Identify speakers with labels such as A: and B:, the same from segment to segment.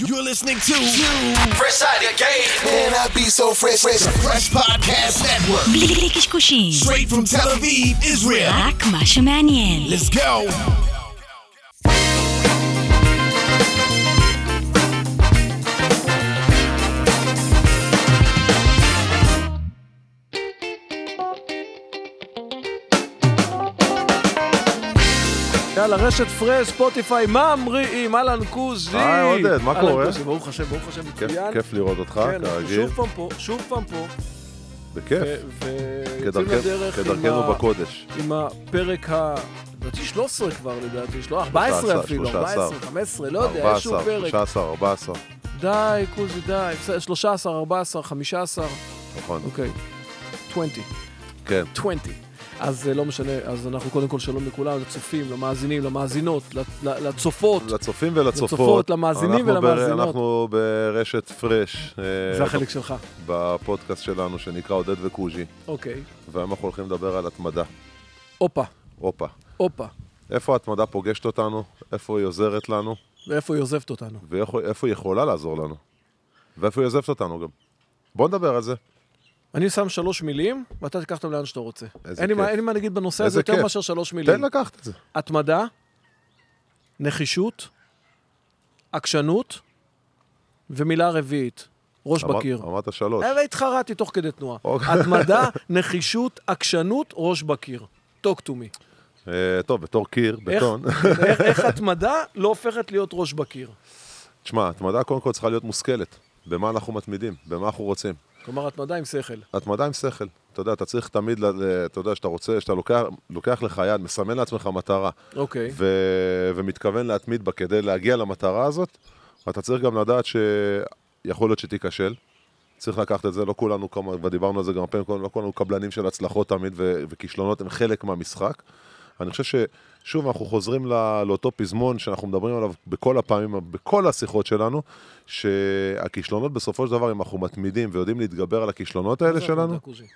A: You're listening to you.
B: Fresh out the gate, man, I be so fresh, fresh,
A: Fresh Podcast Network,
C: בלי קשקושים,
A: straight from Tel Aviv, Israel.
C: רק מה שמעניין.
A: Let's go.
D: יאללה, רשת פרש, ספוטיפיי, ממריאים, אהלן קוזי.
E: היי, עודד, מה
D: אהלן,
E: קורה?
D: קוזי, ברוך השם, ברוך השם,
E: כיף,
D: מצוין.
E: כיף לראות אותך,
D: כן, אנחנו
E: כרגיל,
D: שוב פעם פה, שוב פעם פה,
E: בכיף,
D: ויוצאים
E: כדרכנו-
D: לדרך עם
E: כדרכנו
D: ה-
E: בקודש.
D: עם הפרק ה... לדעתי 13 כבר, לדעתי, שלא, 14 אפילו,
E: 13,
D: 14, 15, לא יודע, איזשהו
E: 14,
D: פרק.
E: 13, 14,
D: די, קוזי, די, בסדר, 13, 14, 15,
E: נכון,
D: אוקיי, 20.
E: כן,
D: 20. אז אה, לא משנה, אז אנחנו קודם כל שלום לכולם, לצופים, למאזינים, למאזינות, ל- ל- לצופות.
E: לצופים
D: לצופות,
E: ולצופות,
D: למאזינים
E: אנחנו ב-
D: ולמאזינות.
E: אנחנו ברשת פרש, אה,
D: זה החלק שלך.
E: בפודקאסט שלנו שנקרא עודד וקוז'י,
D: אוקיי.
E: והיום אנחנו הולכים לדבר על התמדה,
D: הופה,
E: הופה.
D: הופה.
E: איפה התמדה פוגשת אותנו, איפה היא עוזרת לנו,
D: ואיפה היא עוזבת אותנו?
E: ואיפה היא יכולה לעזור לנו, ואיפה היא עוזבת אותנו גם. בוא נדבר על זה.
D: אני שם שלוש מילים, ואתה תיקח אותם לאן שאתה רוצה.
E: איזה
D: אין לי, מה,
E: כיף.
D: אין לי מה להגיד בנושא הזה
E: איזה
D: יותר
E: כיף.
D: מאשר שלוש מילים.
E: תן לקחת את זה.
D: התמדה, נחישות, עקשנות, ומילה רביעית, ראש
E: אמר-
D: בקיר. אה,
E: אמרת שלוש.
D: אבל התחרתי תוך כדי תנועה.
E: אוקיי.
D: התמדה, נחישות, עקשנות, ראש בקיר. talk to me.
E: אה, טוב, בתור קיר,
D: איך-
E: בטון.
D: איך- איך התמדה לא הופכת להיות ראש בקיר?
E: תשמע, התמדה קודם כל צריכה להיות מושכלת. במה אנחנו מתמידים, במה אנחנו רוצים.
D: כלומר, התמדה עם שכל.
E: התמדה עם שכל. אתה יודע, אתה צריך תמיד, ל- ל- אתה יודע, שאתה רוצה, שאתה לוקח, לוקח לך יד, מסמן לעצמך מטרה,
D: אוקיי.
E: ו, ומתכוון להתמיד בה כדי להגיע למטרה הזאת, אתה צריך גם לדעת שיכול להיות שתיכשל. צריך לקחת את זה, לא כולנו, כמה- ודיברנו על זה גם פעמים קודם, לא כולנו קבלנים של הצלחות תמיד, ו- וכישלונות הם חלק מהמשחק. אני חושב ששוב, אנחנו חוזרים לא, לאותו פזמון שאנחנו מדברים עליו בכל הפעמים, בכל השיחות שלנו, שהכישלונות בסופו של דבר, אם אנחנו מתמידים ויודעים להתגבר על הכישלונות האלה
D: מה זה
E: שלנו,
D: התמדה, קוז'י?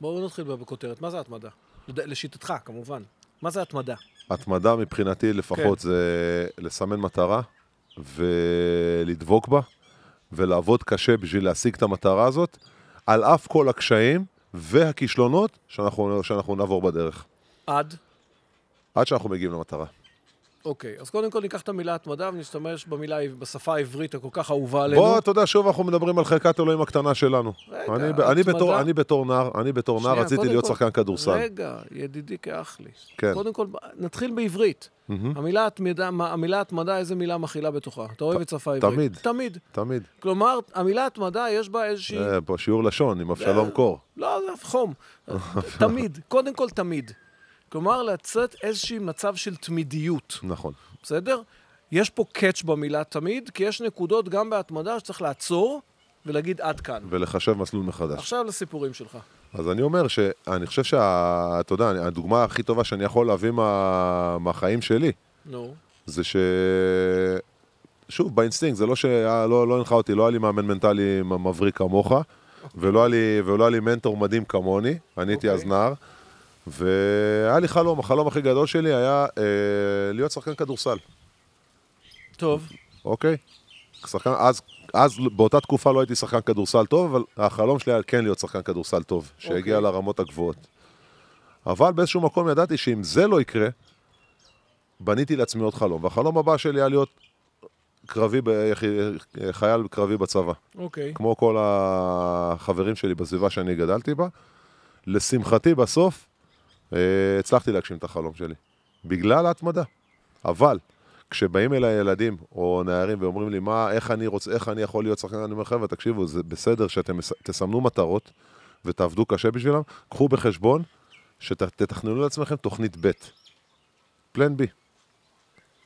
D: בואו נתחיל בכותרת. מה זה התמדה? לד- לשיטתך, כמובן. מה זה התמדה?
E: התמדה מבחינתי לפחות כן. זה לסמן מטרה ולדבוק בה ולעבוד קשה בשביל להשיג את המטרה הזאת, על אף כל הקשיים והכישלונות שאנחנו, שאנחנו נעבור בדרך,
D: עד?
E: עד שאנחנו מגיעים למטרה.
D: אוקיי, אז קודם כל ניקח את המילה התמדה ונשתמש במילה, בשפה העברית הכל כך אהובה עלינו.
E: בוא, אתה יודע, שוב אנחנו מדברים על חלקת אלוהים הקטנה שלנו.
D: רגע,
E: אני, ב- אני,
D: התמדה-
E: בתור, אני בתור נער, אני בתור נער
D: שנייה,
E: רציתי
D: קודם
E: להיות
D: כל-
E: שחקן כדורסל.
D: רגע, ידידי כאח לי.
E: כן.
D: קודם כל, נתחיל בעברית. המילה התמדה, מה- המילה התמדה, איזה מילה מכילה בתוכה? אתה אוהב את שפה עברית.
E: תמיד.
D: תמיד.
E: תמיד.
D: כלומר, המילה התמדה, יש בה איזושהי...
E: אה, פה שיעור לשון עם אבשלום קור.
D: לא, זה חום. תמיד, קודם כל תמיד. כלומר, לצאת איזשהו מצב של תמידיות.
E: נכון.
D: בסדר? יש פה קאץ' במילה תמיד, כי יש נקודות גם בהתמדה שצריך לעצור ולהגיד עד כאן.
E: ולחשב מסלול מחדש.
D: עכשיו לסיפורים שלך.
E: אז אני אומר שאני חושב שה... אתה יודע, הדוגמה הכי טובה שאני יכול להביא מה... מהחיים שלי,
D: נו.
E: זה ש... שוב, באינסטינקט, זה לא שהיה, לא, לא הנחה אותי, לא היה לי מאמן מנטלי מ- מבריק כמוך, ולא היה לי, ולא היה לי מנטור מדהים כמוני, אני הייתי אז נער, והיה לי חלום, החלום הכי גדול שלי היה אה, להיות שחקן כדורסל,
D: טוב,
E: אוקיי? שחקן, אז, אז באותה תקופה לא הייתי שחקן כדורסל טוב, אבל החלום שלי היה כן להיות שחקן כדורסל טוב, שהגיע
D: אוקיי.
E: לרמות הגבוהות. אבל באיזשהו מקום ידעתי שאם זה לא יקרה, בניתי לעצמי עוד חלום, והחלום הבא שלי היה להיות קרבי, ב- יחי- חייל קרבי בצבא,
D: אוקיי.
E: כמו כל החברים שלי בסביבה שאני גדלתי בה. לשמחתי בסוף, אה, הצלחתי להגשים את החלום שלי, בגלל ההתמדה. אבל כשבאים אליי ילדים או נערים ואומרים לי, מה, איך אני רוצה, איך אני יכול להיות שחקן, אני אומר, חבר'ה, תקשיבו, זה בסדר שאתם מס- תסמנו מטרות ותעבדו קשה בשבילם, קחו בחשבון שתתכננו לעצמכם תוכנית ב', פלן בי.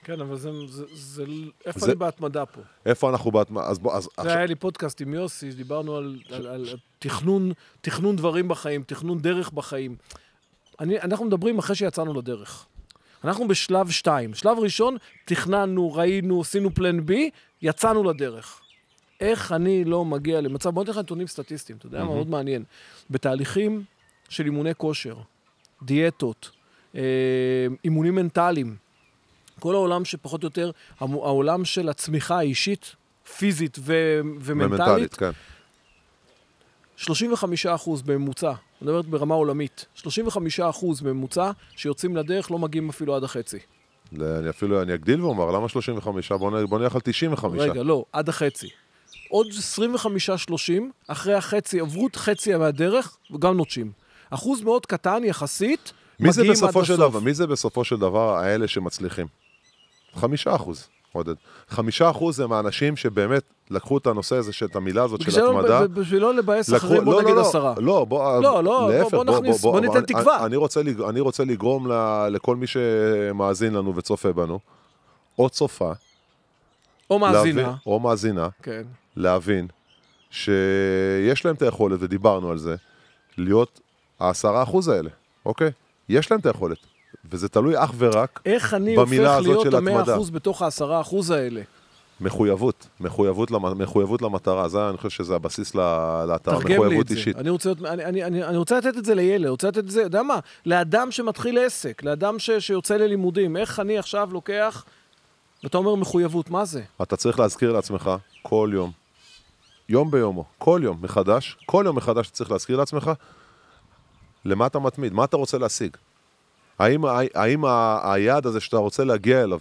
D: כן, אבל זה... זה, זה איפה
E: זה-
D: אני בהתמדה פה?
E: איפה אנחנו בהתמדה? אז בוא, אז
D: זה היה לי פודקאסט עם יוסי, דיברנו על, על, על תכנון, תכנון דברים בחיים, תכנון דרך בחיים. אני, אנחנו מדברים אחרי שיצאנו לדרך. אנחנו בשלב שתיים. שלב ראשון, תכננו, ראינו, עשינו פלן בי, יצאנו לדרך. איך אני לא מגיע למצב, בוא נתן לך נתונים סטטיסטיים, אתה יודע מה מאוד מעניין. בתהליכים של אימוני כושר, דיאטות, אה, אימונים מנטליים, כל העולם שפחות או יותר, המ- העולם של הצמיחה האישית, פיזית ו- ומנטלית,
E: ומנטלית, כן.
D: 35% בממוצע, אני מדברת ברמה עולמית, 35% בממוצע שיוצאים לדרך לא מגיעים אפילו עד החצי.
E: ל- אני אפילו, אני אגדיל ואומר, למה 35? בוא נ- בוא נלך על 95.
D: רגע, לא, עד החצי. עוד 25-30, אחרי החצי, עברו את חצי מהדרך, וגם נוטשים. אחוז מאוד קטן יחסית,
E: מי זה
D: מגיעים עד
E: בסופו של
D: הסוף.
E: דבר, מי זה בסופו של דבר האלה שמצליחים? חמישה אחוז, עודד. חמישה אחוז הם האנשים שבאמת לקחו את הנושא הזה, של- את המילה הזאת של
D: בשביל לא-
E: התמדה.
D: ב- בשביל לא לבאס
E: לקחו-
D: אחרים,
E: לא,
D: בוא
E: לא,
D: נגיד
E: לא.
D: עשרה.
E: לא, בוא,
D: לא, לא,
E: להפך,
D: בוא נכניס, בוא ניתן
E: אני-
D: תקווה.
E: אני רוצה לג- אני רוצה לגרום ל- לכל מי שמאזין לנו וצופה בנו, או צופה,
D: או מאזינה.
E: להבין- או מאזינה,
D: כן.
E: להבין שיש להם את היכולת, ודיברנו על זה, להיות העשרה אחוז האלה, אוקיי? יש להם את היכולת, וזה תלוי אך ורק
D: איך אני הופך
E: במילה הזאת
D: להיות
E: של
D: המאה
E: התמדה.
D: אחוז בתוך העשרה אחוז האלה?
E: מחויבות, מחויבות, למ- מחויבות למטרה, זה אני חושב שזה הבסיס ל- לאתר,
D: תרגם לי
E: מחויבות
D: את זה.
E: אישית.
D: אני רוצה, להיות- אני, אני, אני, אני רוצה לתת את זה לילד, רוצה לתת את זה, יודע מה? לאדם שמתחיל עסק, לאדם ש, שיוצא ללימודים, איך אני עכשיו לוקח, ואתה אומר מחויבות, מה זה?
E: אתה צריך להזכיר לעצמך כל יום, יום ביומו, כל יום מחדש, כל יום מחדש אתה צריך להזכיר לעצמך למה אתה מתמיד, מה אתה רוצה להשיג. האם, האם ה- היעד הזה שאתה רוצה להגיע אליו,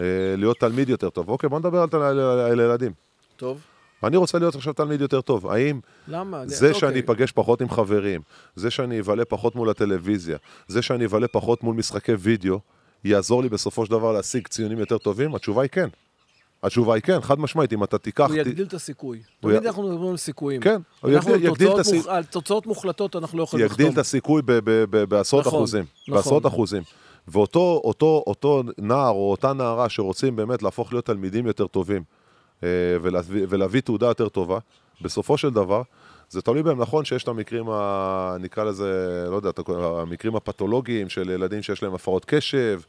E: אה, להיות תלמיד יותר טוב, אוקיי, בוא נדבר על, תל- על, על ילדים.
D: טוב.
E: אני רוצה להיות עכשיו תלמיד יותר טוב, האם
D: למה?
E: זה
D: אוקיי.
E: שאני אפגש פחות עם חברים, זה שאני אבלה פחות מול הטלוויזיה, זה שאני אבלה פחות מול משחקי וידאו, יעזור לי בסופו של דבר להשיג ציונים יותר טובים? התשובה היא כן. התשובה היא כן, חד משמעית, אם אתה תיקח...
D: הוא
E: ת-
D: יגדיל את הסיכוי.
E: הוא
D: תמיד
E: י-
D: אנחנו מדברים על סיכויים.
E: כן, הוא
D: אנחנו
E: יגדיל-
D: על
E: יגדיל את
D: תוצאות
E: הסיכ-
D: מוח- על תוצאות מוחלטות אנחנו לא יכולים לחתום.
E: יגדיל את הסיכוי ב- ב- ב- בעשרות
D: נכון,
E: אחוזים.
D: נכון.
E: בעשרות אחוזים. ואותו אותו, אותו נער או אותה נערה שרוצים באמת להפוך להיות תלמידים יותר טובים אה, ולהביא, ולהביא תעודה יותר טובה, בסופו של דבר, זה תלוי בהם. נכון שיש את המקרים, ה... נקרא לזה, לא יודע, את ה- המקרים הפתולוגיים של ילדים שיש להם הפרעות קשב,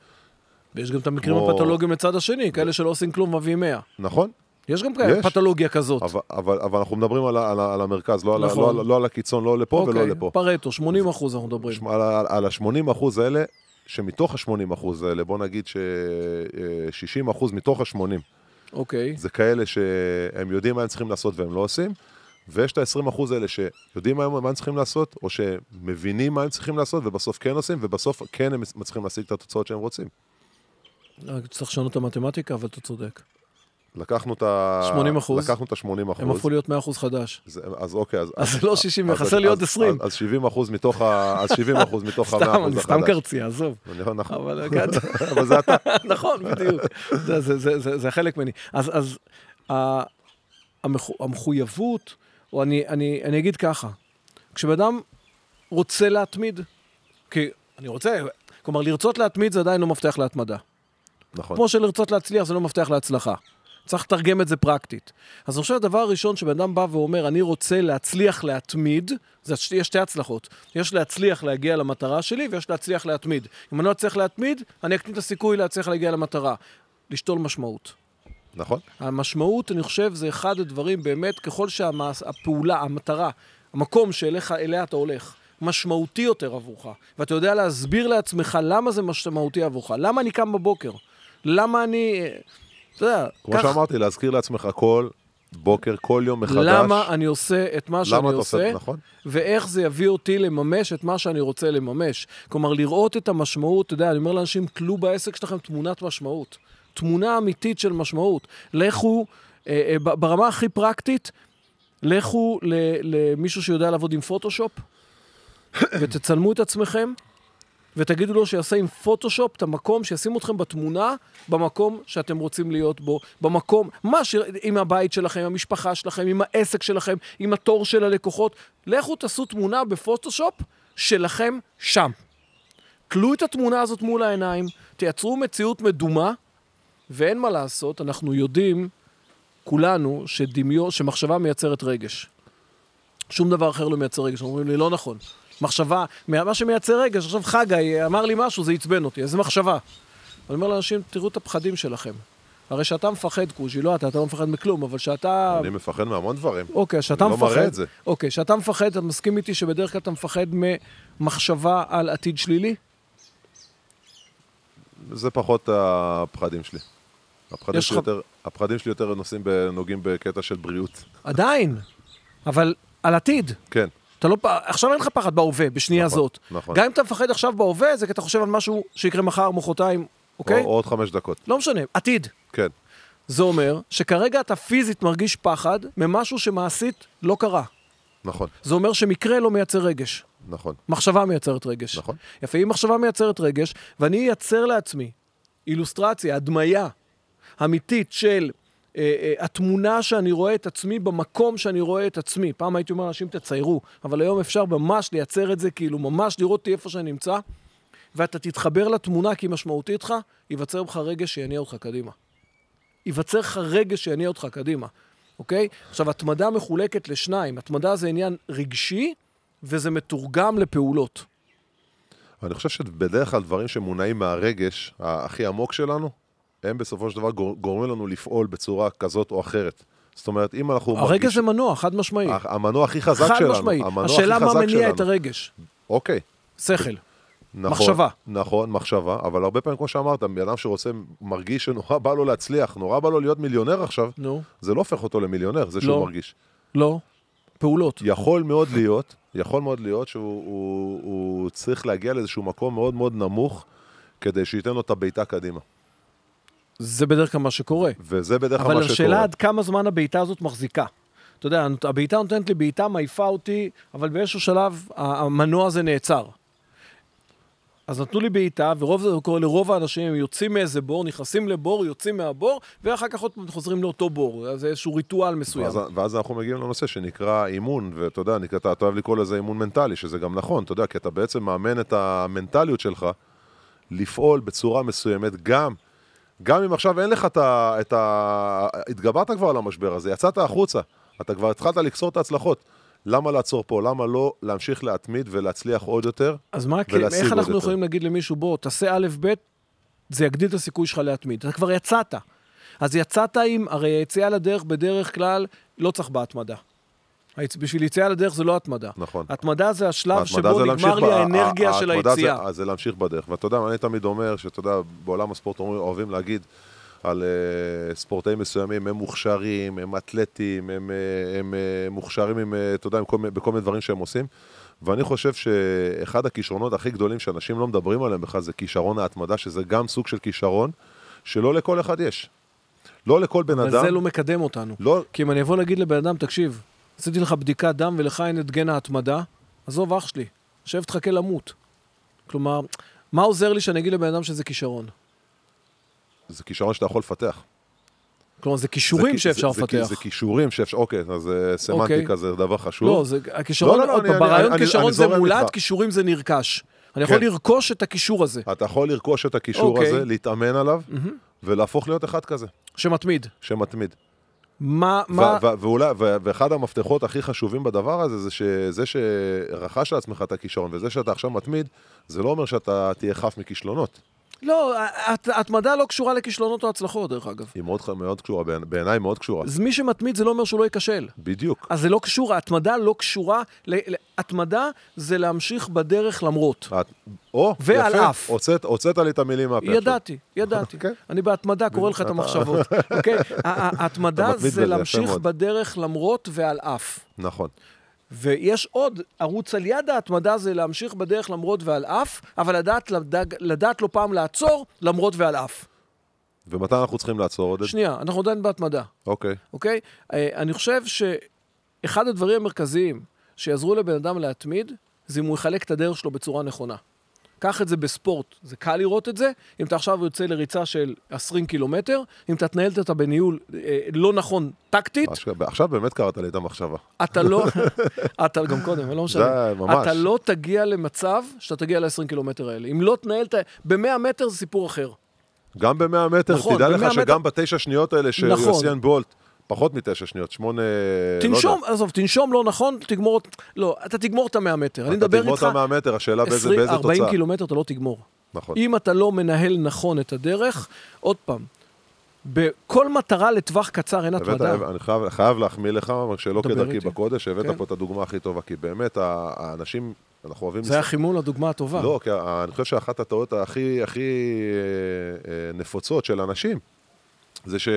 D: ויש גם את המקרים
E: כמו-
D: הפתולוגיים לצד השני, כאלה שלא עושים כלום מביאים 100.
E: נכון?
D: יש גם
E: יש.
D: כאלה פתולוגיה כזאת.
E: אבל, אבל, אבל אנחנו מדברים על, ה- על, ה- על המרכז, לא על, ה-
D: נכון.
E: לא, על- לא על הקיצון, לא לפה
D: אוקיי,
E: ולא לפה.
D: פרטו, 80 אחוז אנחנו מדברים.
E: שמע, על, על, על ה-80 אחוז האלה, שמתוך ה-80 אחוז האלה, בוא נגיד ש-60 אחוז מתוך ה-80,
D: אוקיי.
E: זה כאלה שהם יודעים מה הם צריכים לעשות והם לא עושים, ויש את ה-20 אחוז האלה שיודעים מה הם, מה הם צריכים לעשות, או שמבינים מה הם צריכים לעשות ובסוף כן עושים, ובסוף כן הם מצליחים להשיג את התוצאות שהם רוצים.
D: רק צריך לשנות את המתמטיקה, אבל אתה צודק.
E: לקחנו את ה...
D: 80%.
E: לקחנו את ה-80 אחוז.
D: הם הפכו להיות 100 אחוז חדש.
E: אז, אז אוקיי, אז...
D: אז זה לא 60, חסר לי
E: אז-
D: עוד 20.
E: אז, אז 70 אחוז מתוך ה... אז 70 אחוז מתוך ה-100
D: סתם,
E: לא אחוז
D: אני סתם קרצייה, עזוב.
E: נכון,
D: אבל
E: אבל זה אתה.
D: נכון, בדיוק. זה- זה- זה- זה זה חלק ממני. אז- אז ה- המחו- המחויבות, או אני- אני אני אגיד ככה, כשבן אדם רוצה להתמיד, כי אני רוצה, כלומר, לרצות להתמיד זה עדיין לא מפתח להתמדה.
E: נכון.
D: כמו שלרצות להצליח זה לא מפתח להצלחה. צריך לתרגם את זה פרקטית. אז אני חושב הדבר הראשון שבן אדם בא ואומר, אני רוצה להצליח להתמיד, זה ש- יש שתי הצלחות. יש להצליח להגיע למטרה שלי ויש להצליח להתמיד. אם אני לא אצליח להתמיד, אני אקטין את הסיכוי להצליח להגיע למטרה. לשתול משמעות.
E: נכון.
D: המשמעות, אני חושב, זה אחד הדברים באמת, ככל שהפעולה, המטרה, המקום שאליך, אליה אתה הולך, משמעותי יותר עבורך, ואתה יודע להסביר לעצמך למה זה משמעותי עבורך, למה אני קם בבוקר, למה אני... אה, אתה יודע,
E: כמו שאמרתי, להזכיר לעצמך כל בוקר, כל יום מחדש.
D: למה אני עושה את מה שאני
E: למה אתה עושה,
D: עושה,
E: נכון.
D: ואיך זה יביא אותי לממש את מה שאני רוצה לממש. כלומר, לראות את המשמעות, אתה יודע, אני אומר לאנשים, כלו בעסק שלכם תמונת משמעות. תמונה אמיתית של משמעות. לכו, אה, אה, ב- ברמה הכי פרקטית, לכו ל- למישהו שיודע לעבוד עם פוטושופ, ותצלמו את עצמכם, ותגידו לו שיעשה עם פוטושופ את המקום, שישים אתכם בתמונה, במקום שאתם רוצים להיות בו, במקום, מה ש... עם הבית שלכם, עם המשפחה שלכם, עם העסק שלכם, עם התור של הלקוחות. לכו תעשו תמונה בפוטושופ שלכם שם. תלו את התמונה הזאת מול העיניים, תייצרו מציאות מדומה, ואין מה לעשות, אנחנו יודעים, כולנו, שדמיון, שמחשבה מייצרת רגש. שום דבר אחר לא מייצר רגש. אומרים לי, לא נכון. מחשבה, מה מה שמייצר רגש, עכשיו חגי אה, אמר לי משהו, זה עצבן אותי, אז זה מחשבה. אני אומר לאנשים, תראו את הפחדים שלכם. הרי שאתה מפחד, קוז'י, לא אתה, אתה לא מפחד מכלום, אבל שאתה...
E: אני מפחד מהמון דברים.
D: אוקיי, שאתה
E: אני לא
D: מפחד...
E: מראה את זה.
D: אוקיי, שאתה מפחד, אתה מסכים איתי שבדרך כלל אתה מפחד ממחשבה על עתיד שלילי?
E: זה פחות הפחדים שלי. הפחדים
D: יש
E: שלי
D: לך-
E: יותר- הפחדים שלי יותר נושאים ב- נוגעים בקטע של בריאות.
D: עדיין, אבל על עתיד.
E: כן,
D: אתה לא, פ- עכשיו אין לך פחד בהווה, בשנייה
E: נכון,
D: הזאת.
E: נכון.
D: גם אם אתה מפחד עכשיו בהווה, זה כי אתה חושב על משהו שיקרה מחר, מחרתיים,
E: או
D: אוקיי?
E: או עוד חמש דקות.
D: לא משנה, עתיד.
E: כן,
D: זה אומר שכרגע אתה פיזית מרגיש פחד ממשהו שמעשית לא קרה.
E: נכון,
D: זה אומר שמקרה לא מייצר רגש.
E: נכון.
D: מחשבה מייצרת רגש.
E: נכון.
D: יפה, אם מחשבה מייצרת רגש, ואני אייצר לעצמי אילוסטרציה, הדמיה אמיתית של אה, אה, התמונה שאני רואה את עצמי במקום שאני רואה את עצמי. פעם הייתי אומר לאנשים, תציירו, אבל היום אפשר ממש לייצר את זה, כאילו ממש לראות אותי איפה שאני נמצא, ואתה תתחבר לתמונה כי היא משמעותית לך, ייווצר בך רגש שיניע אותך קדימה. ייווצר לך רגש שיניע אותך קדימה, אוקיי? עכשיו, התמדה מחולקת לשניים. התמדה זה עניין רגשי, וזה מתורגם לפעולות.
E: אני חושב שבדרך כלל דברים שמונעים מהרגש הכי עמוק שלנו, הם בסופו של דבר גור- גורמים לנו לפעול בצורה כזאת או אחרת. זאת אומרת, אם אנחנו
D: הרגש זה מנוע, חד משמעי.
E: המ- המנוע הכי חזק
D: חד
E: שלנו,
D: משמעי.
E: המנוע הכי
D: השאלה מה
E: חזק
D: מניע את
E: שלנו.
D: הרגש.
E: אוקיי,
D: שכל.
E: נכון.
D: מחשבה.
E: נכון, מחשבה, אבל הרבה פעמים, כמו שאמרת, בן אדם שרוצה, מרגיש שנורא בא לו להצליח, נורא בא לו להיות מיליונר עכשיו,
D: נו.
E: זה לא הופך אותו למיליונר, זה
D: לא.
E: שהוא מרגיש.
D: לא. פעולות.
E: יכול מאוד להיות, יכול מאוד להיות שהוא הוא, הוא צריך להגיע לאיזשהו מקום מאוד מאוד נמוך, כדי שייתן לו את הבעיטה קדימה.
D: זה בדרך כלל מה שקורה.
E: וזה בדרך כלל
D: אבל
E: מה שקורה.
D: השאלה עד כמה זמן הבעיטה הזאת מחזיקה. אתה יודע, הבעיטה נותנת לי בעיטה, מעיפה אותי, אבל באיזשהו שלב ה- המנוע הזה נעצר. אז נתנו לי בעיטה, ורוב זה קורה לרוב האנשים, הם יוצאים מאיזה בור, נכנסים לבור, יוצאים מהבור, ואחר כך עוד פעם חוזרים לאותו בור. אז זה איזשהו ריטואל מסוים.
E: ואז, ואז אנחנו מגיעים לנושא שנקרא אימון, ואתה יודע, אני, אתה, אתה אוהב לקרוא לזה אימון מנטלי, שזה גם נכון, אתה יודע, כי אתה בעצם מאמן את המנטליות שלך לפעול בצורה מסוימת, גם, גם אם עכשיו אין לך את ה... את ה התגברת כבר על המשבר הזה, יצאת החוצה, אתה כבר התחלת לקצור את ההצלחות. למה לעצור פה? למה לא להמשיך להתמיד ולהצליח עוד יותר?
D: אז מה, כן,
E: ולהשיג
D: איך
E: עוד
D: אנחנו
E: יותר.
D: יכולים להגיד למישהו, בוא, תעשה א', ב', זה יגדיל את הסיכוי שלך להתמיד. אתה כבר יצאת. אז יצאת עם, הרי היציאה לדרך בדרך כלל לא צריך בהתמדה. היצ- בשביל יציאה לדרך זה לא התמדה.
E: נכון.
D: התמדה זה השלב
E: ההתמדה
D: שבו
E: זה
D: נגמר
E: להמשיך
D: לי
E: ב-
D: האנרגיה
E: ה-
D: של
E: ההתמדה
D: היציאה.
E: זה, זה להמשיך בדרך. ואתה יודע, אני תמיד אומר, שאתה יודע, בעולם הספורט אומרים- אוהבים להגיד על uh, ספורטאים מסוימים, הם מוכשרים, הם אתלטים, הם, uh, הם uh, מוכשרים עם, uh, אתה יודע, עם כל, מיני- בכל מיני דברים שהם עושים. ואני חושב שאחד הכישרונות הכי גדולים שאנשים לא מדברים עליהם בכלל זה כישרון ההתמדה, שזה גם סוג של כישרון שלא לכל אחד יש. לא לכל בן
D: אבל זה
E: אדם,
D: לא מקדם אותנו.
E: לא,
D: כי אם אני אבוא להגיד לבן אדם, תקשיב, עשיתי לך בדיקת דם ולך אין את גן ההתמדה, עזוב אח שלי, שב תחכה למות. כלומר, מה עוזר לי שאני אגיד לבן אדם שזה כישרון?
E: זה כישרון שאתה יכול לפתח.
D: כלומר, זה
E: זה
D: כישורים
E: כי-
D: שאפשר
E: זה- זה כי-
D: לפתח.
E: זה כישורים שאפשר, אוקיי, אז זה סמנטיקה זה דבר חשוב.
D: לא, זה, הכישרון,
E: לא, לא,
D: עוד
E: אני-
D: פעם,
E: אני-
D: ברעיון
E: אני-
D: כישרון
E: אני
D: זה
E: זורם
D: מולד,
E: איתך.
D: כישורים זה נרכש. אני יכול
E: כן.
D: לרכוש את הקישור הזה,
E: אתה יכול לרכוש את הקישור
D: אוקיי.
E: הזה, להתאמן עליו, ולהפוך להיות אחד כזה,
D: שמתמיד.
E: שמתמיד.
D: מה, מה,
E: ו- ו- ואולי, ו- ואחד המפתחות הכי חשובים בדבר הזה, זה שזה שרכשת לעצמך את הכישרון, וזה שאתה עכשיו מתמיד, זה לא אומר שאתה תהיה חף מכישלונות.
D: לא, הת- התמדה לא קשורה לכישלונות או הצלחות, דרך אגב.
E: היא מאוד, ח- מאוד קשורה, בעיני- בעיניי מאוד קשורה.
D: אז מי שמתמיד זה לא אומר שהוא לא ייכשל.
E: בדיוק.
D: אז זה לא קשור, ההתמדה לא קשורה, ל- ל- התמדה זה להמשיך בדרך למרות.
E: את- או,
D: ועל
E: יפה,
D: אף.
E: הוצאת- הוצאת לי את המילים מהפה אוקיי, עכשיו.
D: ידעתי, ידעתי.
E: אוקיי.
D: אני בהתמדה קורא לך את המחשבות, אוקיי? ה- ה-
E: אתה
D: ההתמדה
E: מתמיד בזה,
D: זה
E: יפה
D: להמשיך
E: מאוד.
D: בדרך למרות ועל אף.
E: נכון,
D: ויש עוד, ערוץ על יד ההתמדה זה להמשיך בדרך למרות ועל אף, אבל לדעת, לדעת, לדעת לא פעם לעצור למרות ועל אף.
E: ומתי אנחנו צריכים לעצור עודד?
D: שנייה, אנחנו עדיין בהתמדה,
E: אוקיי,
D: אוקיי? אה, אני חושב שאחד הדברים המרכזיים שיעזרו לבן אדם להתמיד, זה אם הוא יחלק את הדרך שלו בצורה נכונה. קח את זה בספורט, זה קל לראות את זה. אם אתה עכשיו יוצא לריצה של 20 קילומטר, אם אתה תנהל אותה בניהול אה, לא נכון טקטית,
E: אשכרה, עכשיו באמת קראת לי את המחשבה.
D: אתה לא, אתה גם קודם, אבל לא משנה.
E: די, ממש.
D: אתה לא תגיע למצב שאתה תגיע ל-20 קילומטר האלה. אם לא תנהל את ה... ב-100 מטר זה סיפור
E: אה,
D: אחר.
E: לא גם ב-100 מטר,
D: נכון,
E: תדע
D: ב- 100
E: לך
D: מטר.
E: שגם בתשע שניות האלה של
D: נכון.
E: יוסיאן בולט, פחות מתשע שניות, שמונה... לא
D: תנשום,
E: יודע.
D: עזוב, תנשום לא נכון, תגמור... את- לא, אתה תגמור את ה-100 מטר. אני
E: אתה
D: מדבר
E: תגמור
D: איתך,
E: את ה-100 מטר, השאלה באיזה
D: 20,
E: באיזה
D: 40
E: תוצאה.
D: קילומטר אתה לא תגמור.
E: נכון.
D: אם אתה לא מנהל נכון את הדרך, עוד פעם, בכל מטרה לטווח קצר אין
E: הבאת-
D: התמדה.
E: אה, אני חייב- חייב להחמיא לך, אבל שלא
D: דבר
E: כדרכי
D: איתי.
E: בקודש,
D: כן.
E: הבאת פה את הדוגמה הכי טובה, כי באמת ה- האנשים, אנחנו אוהבים...
D: זה היה חימום לדוגמה הטובה.
E: לא, כי ה- אני חושב שאחת הטעויות הכי, הכי אה, אה, נפוצות של אנשים, זה ש,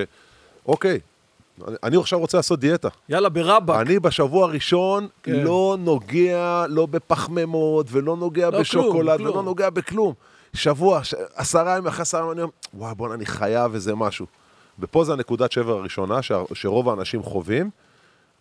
E: אוקיי, אני- אני עכשיו רוצה לעשות דיאטה.
D: יאללה, ברבאק.
E: אני בשבוע הראשון
D: כן.
E: לא נוגע לא בפחמימות, ולא נוגע
D: לא כלום,
E: בשוקולד,
D: כלום.
E: ולא נוגע בכלום. שבוע, ש... עשרה ימים אחרי עשרה ימים, אני אומר, וואי, בוא'נה, אני חייב איזה משהו. ופה זה הנקודת שבר הראשונה ש... שרוב האנשים חווים,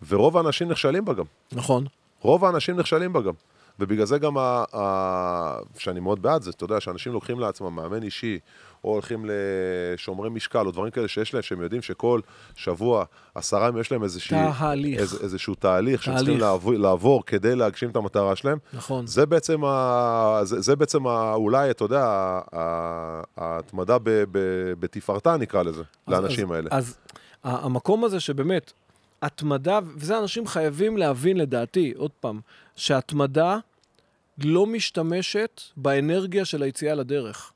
E: ורוב האנשים נכשלים בה גם.
D: נכון.
E: רוב האנשים נכשלים בה גם. ובגלל זה גם, ה, ה, שאני מאוד בעד זה, אתה יודע, שאנשים לוקחים לעצמם מאמן אישי, או הולכים לשומרי משקל, או דברים כאלה שיש להם, שהם יודעים שכל שבוע, עשרה ימים יש להם איזושהי...
D: תהליך.
E: איז, איזשהו תהליך שהם צריכים
D: תהליך.
E: לעבור, לעבור כדי להגשים את המטרה שלהם.
D: נכון.
E: זה בעצם, ה, זה, זה בעצם ה, אולי, אתה יודע, ה- ה- ההתמדה ב- ב- בתפארתה, נקרא לזה, לאנשים
D: אז,
E: האלה.
D: אז ה- המקום הזה שבאמת, התמדה, וזה אנשים חייבים להבין לדעתי, עוד פעם, שהתמדה לא משתמשת באנרגיה של היציאה לדרך.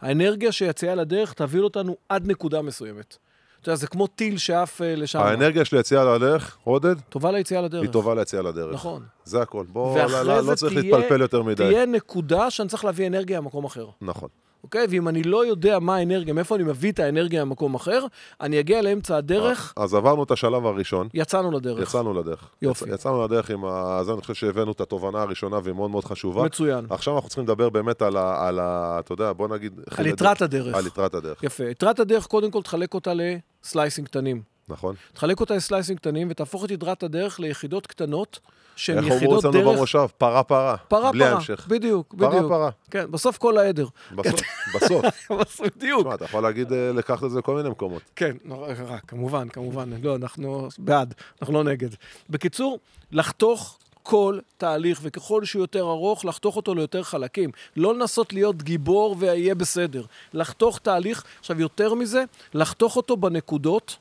D: האנרגיה שיציאה לדרך תביא אותנו עד נקודה מסוימת. אתה יודע, זה כמו טיל שעף אה, לשם.
E: האנרגיה של יציאה לדרך, עודד,
D: טובה ליציאה לדרך.
E: היא טובה ליציאה לדרך.
D: נכון.
E: זה הכל. בוא, לא,
D: ואחרי
E: לא,
D: זה
E: לא צריך
D: תהיה-
E: להתפלפל יותר מדי.
D: תהיה נקודה שאני צריך להביא אנרגיה ממקום אחר.
E: נכון.
D: אוקיי? ואם אני לא יודע מה האנרגיה, מאיפה אני מביא את האנרגיה ממקום אחר, אני אגיע לאמצע הדרך,
E: אז עברנו את השלב הראשון,
D: יצאנו לדרך.
E: יצאנו לדרך.
D: אוקיי. יופי.
E: יצ- יצאנו לדרך עם ה... זה אני חושב שהבאנו את התובנה הראשונה והיא מאוד מאוד חשובה.
D: מצוין.
E: עכשיו אנחנו צריכים לדבר באמת על ה... על ה אתה יודע, בוא נגיד...
D: על יתרת הדרך.
E: על יתרת הדרך,
D: יפה. יתרת הדרך, קודם כל תחלק אותה לסלייסים קטנים.
E: נכון?
D: תחלק אותה לסלייסים קטנים ותהפוך את יתרת הדרך ליחידות קטנות, שהן
E: איך
D: יחידות דרך...
E: אומרים אצלנו במושב? פרה פרה.
D: פרה
E: בלי
D: פרה,
E: המשך.
D: בדיוק,
E: פרה,
D: בדיוק.
E: פרה.
D: כן, בסוף כל העדר.
E: בסוף, בסוף.
D: בסוף, בדיוק.
E: תשמע, אתה יכול להגיד, אה, לקחת את זה לכל מיני מקומות.
D: כן, נורא, רע, כמובן, כמובן. לא, אנחנו בעד, אנחנו לא נגד. בקיצור, לחתוך כל תהליך, וככל שהוא יותר ארוך, לחתוך אותו ליותר חלקים. לא לנסות להיות גיבור ויהיה בסדר. לחתוך תהליך, עכשיו, יותר מזה, לחתוך אותו בנקודות.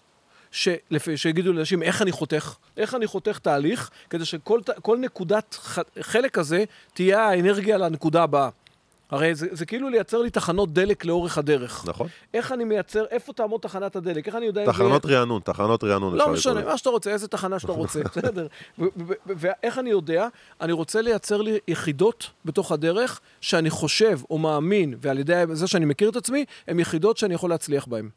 D: שלפי, שיגידו לאנשים איך אני חותך, איך אני חותך תהליך, כדי שכל ת- כל נקודת ח, חלק הזה תהיה האנרגיה לנקודה הבאה. הרי זה, זה כאילו לייצר לי תחנות דלק לאורך הדרך.
E: נכון.
D: איך אני מייצר, איפה תעמוד תחנת הדלק, איך אני יודע אם זה יהיה-
E: תחנות רענון, תחנות רענון. אפשר
D: לא משנה,
E: לקרוא לזה.
D: מה שאתה רוצה, איזה תחנה שאתה רוצה, בסדר. ו- ו- ו- ואיך אני יודע? אני רוצה לייצר לי יחידות בתוך הדרך שאני חושב או מאמין, ועל ידי זה שאני מכיר את עצמי, הן יחידות שאני יכול להצליח בהן.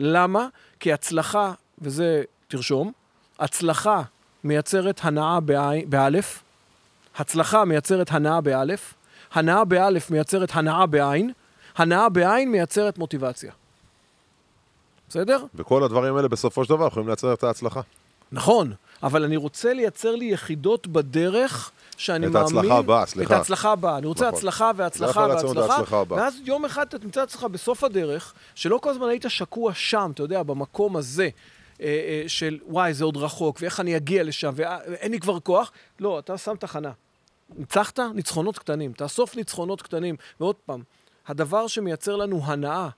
D: למה? כי הצלחה, וזה תרשום, הצלחה מייצרת הנאה בעי- באלף, הצלחה מייצרת הנאה באלף, הנאה באלף מייצרת הנאה בעין, הנאה בעין מייצרת מוטיבציה. בסדר?
E: וכל הדברים האלה בסופו של דבר יכולים לייצר את ההצלחה.
D: נכון, אבל אני רוצה לייצר לי יחידות בדרך שאני
E: את
D: מאמין...
E: ההצלחה הבאה, סליחה.
D: את ההצלחה הבאה. אני רוצה
E: נכון.
D: הצלחה והצלחה
E: לא יכול לעצור את
D: והצלחה.
E: ההצלחה הבאה.
D: ואז יום אחד אתה תמצא את עצמך בסוף הדרך, שלא כל הזמן היית שקוע שם, אתה יודע, במקום הזה. אה, אה, של וואי, זה עוד רחוק, ואיך אני אגיע לשם, ואין לי כבר כוח. לא, אתה שם תחנה. ניצחת? ניצחונות קטנים. תאסוף ניצחונות קטנים. ועוד פעם, הדבר שמייצר לנו הנאה,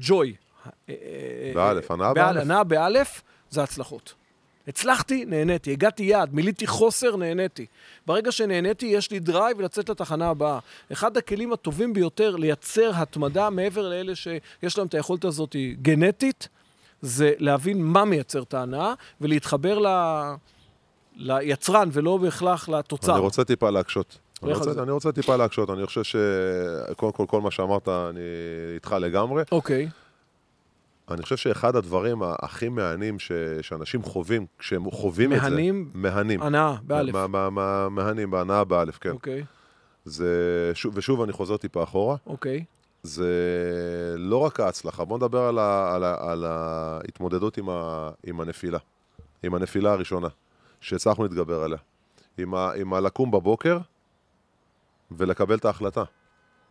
D: ג'וי. אה, אה, אה,
E: באלף, הנאה
D: באלף.
E: באלף.
D: הנאה באלף זה הצלחות. הצלחתי, נהניתי, הגעתי יעד, מילאתי חוסר, נהניתי. ברגע שנהניתי, יש לי דרייב לצאת לתחנה הבאה. אחד הכלים הטובים ביותר לייצר התמדה מעבר לאלה שיש להם את היכולת הזאת היא גנטית, זה להבין מה מייצר את ההנאה ולהתחבר ל... ליצרן ולא בהכרח לתוצר.
E: אני רוצה טיפה להקשות. אני
D: לך על
E: רוצה,
D: זה.
E: אני רוצה טיפה להקשות, אני חושב שקודם כל, כל מה שאמרת, אני איתך לגמרי.
D: אוקיי,
E: אני חושב שאחד הדברים ה- הכי מהנים ש... שאנשים חווים, כשהם חווים את זה...
D: מהנים?
E: מהנים.
D: הנאה, באלף.
E: מה- מה- מה- מהנים, בהנאה באלף, כן.
D: אוקיי,
E: זה... שוב, ושוב, אני חוזר טיפה אחורה,
D: אוקיי.
E: זה לא רק ההצלחה, בואו נדבר על, ה... על, ה... על ההתמודדות עם, ה... עם הנפילה. עם הנפילה הראשונה, שהצלחנו להתגבר עליה. עם, ה... עם הלקום בבוקר ולקבל את ההחלטה.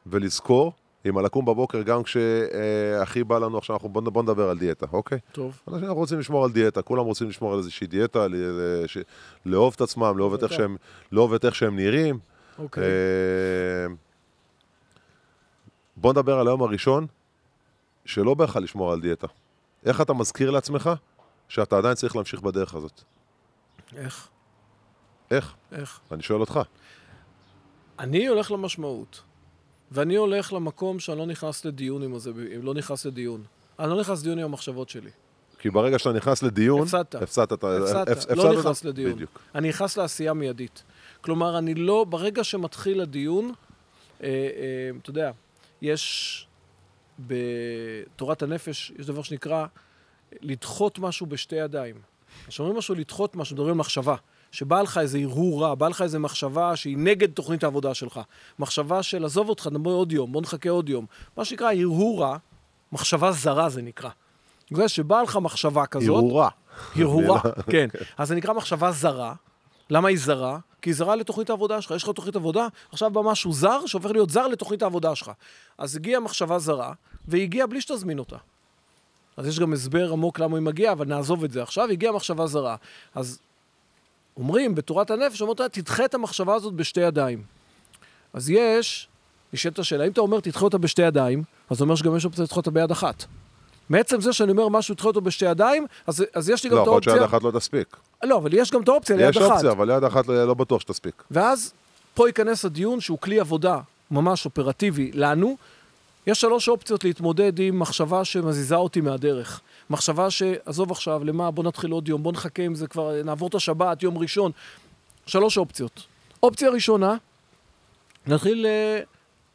E: ולזכור, עם הלקום בבוקר, גם כשהכי בא לנו עכשיו, אנחנו... בואו בוא נדבר על דיאטה, אוקיי?
D: טוב.
E: אנשים אנחנו רוצים לשמור על דיאטה, כולם רוצים לשמור על איזושהי דיאטה, ל- ל- ש- לאהוב את עצמם, לאהוב את איך שהם- לאהוב את איך שהם נראים.
D: אוקיי.
E: אה, בוא נדבר על היום הראשון, שלא בא לך לשמור על דיאטה. איך אתה מזכיר לעצמך שאתה עדיין צריך להמשיך בדרך הזאת?
D: איך?
E: איך?
D: איך?
E: אני שואל אותך.
D: אני הולך למשמעות, ואני הולך למקום שאני לא נכנס לדיון עם זה, לא נכנס לדיון. אני לא נכנס לדיון עם המחשבות שלי.
E: כי ברגע שאתה נכנס לדיון,
D: הפסדת.
E: הפסדת, את ה- הפ-
D: הפסדת,
E: הפסדת
D: לא
E: את ה-
D: נכנס לדיון.
E: בדיוק.
D: אני נכנס לעשייה מיידית. כלומר, אני לא, ברגע שמתחיל הדיון, אה, אה, אתה יודע, יש בתורת הנפש יש דבר שנקרא לדחות משהו בשתי ידיים. כשאומרים משהו לדחות משהו, מדברים על מחשבה. שבא לך איזה הרהור רע, בא לך איזה מחשבה שהיא נגד תוכנית העבודה שלך. מחשבה של עזוב אותך, נבוא עוד יום, בוא נחכה עוד יום. מה שנקרא הרהור רע, מחשבה זרה זה נקרא. זה שבאה לך מחשבה כזאת...
E: הרהורה.
D: הרהורה, כן. אז זה נקרא מחשבה זרה. למה היא זרה? כי היא זרה לתוכנית העבודה שלך. יש לך תוכנית עבודה, עכשיו בא משהו זר שהופך להיות זר לתוכנית העבודה שלך. אז הגיעה מחשבה זרה, והיא הגיעה בלי שתזמין אותה. אז יש גם הסבר עמוק למה היא מגיעה, אבל נעזוב את זה עכשיו, הגיעה מחשבה זרה. אז אומרים, בתורת הנפש, אומרים אותה, תדחה את המחשבה הזאת בשתי ידיים. אז יש, נשאלת השאלה, אם אתה אומר תדחה אותה בשתי ידיים, אז זה אומר שגם יש אופציה לדחות אותה ביד אחת. מעצם זה שאני אומר משהו, תדחה אותו בשתי ידיים, אז, אז יש לי גם
E: לא,
D: את
E: יכול להיות
D: האופציה...
E: שיד אחת לא תספיק.
D: לא, אבל יש גם את האופציה ליד
E: יש
D: אחת.
E: אופציה, אבל יד אחת לא לא בטוח שתספיק.
D: ואז פה ייכנס הדיון שהוא כלי עבודה ממש אופרטיבי לנו. יש שלוש אופציות להתמודד עם מחשבה שמזיזה אותי מהדרך. מחשבה שעזוב עכשיו, למה, בוא נתחיל עוד יום, בוא נחכה עם זה כבר, נעבור את השבת, יום ראשון. שלוש אופציות. אופציה ראשונה, נתחיל אה,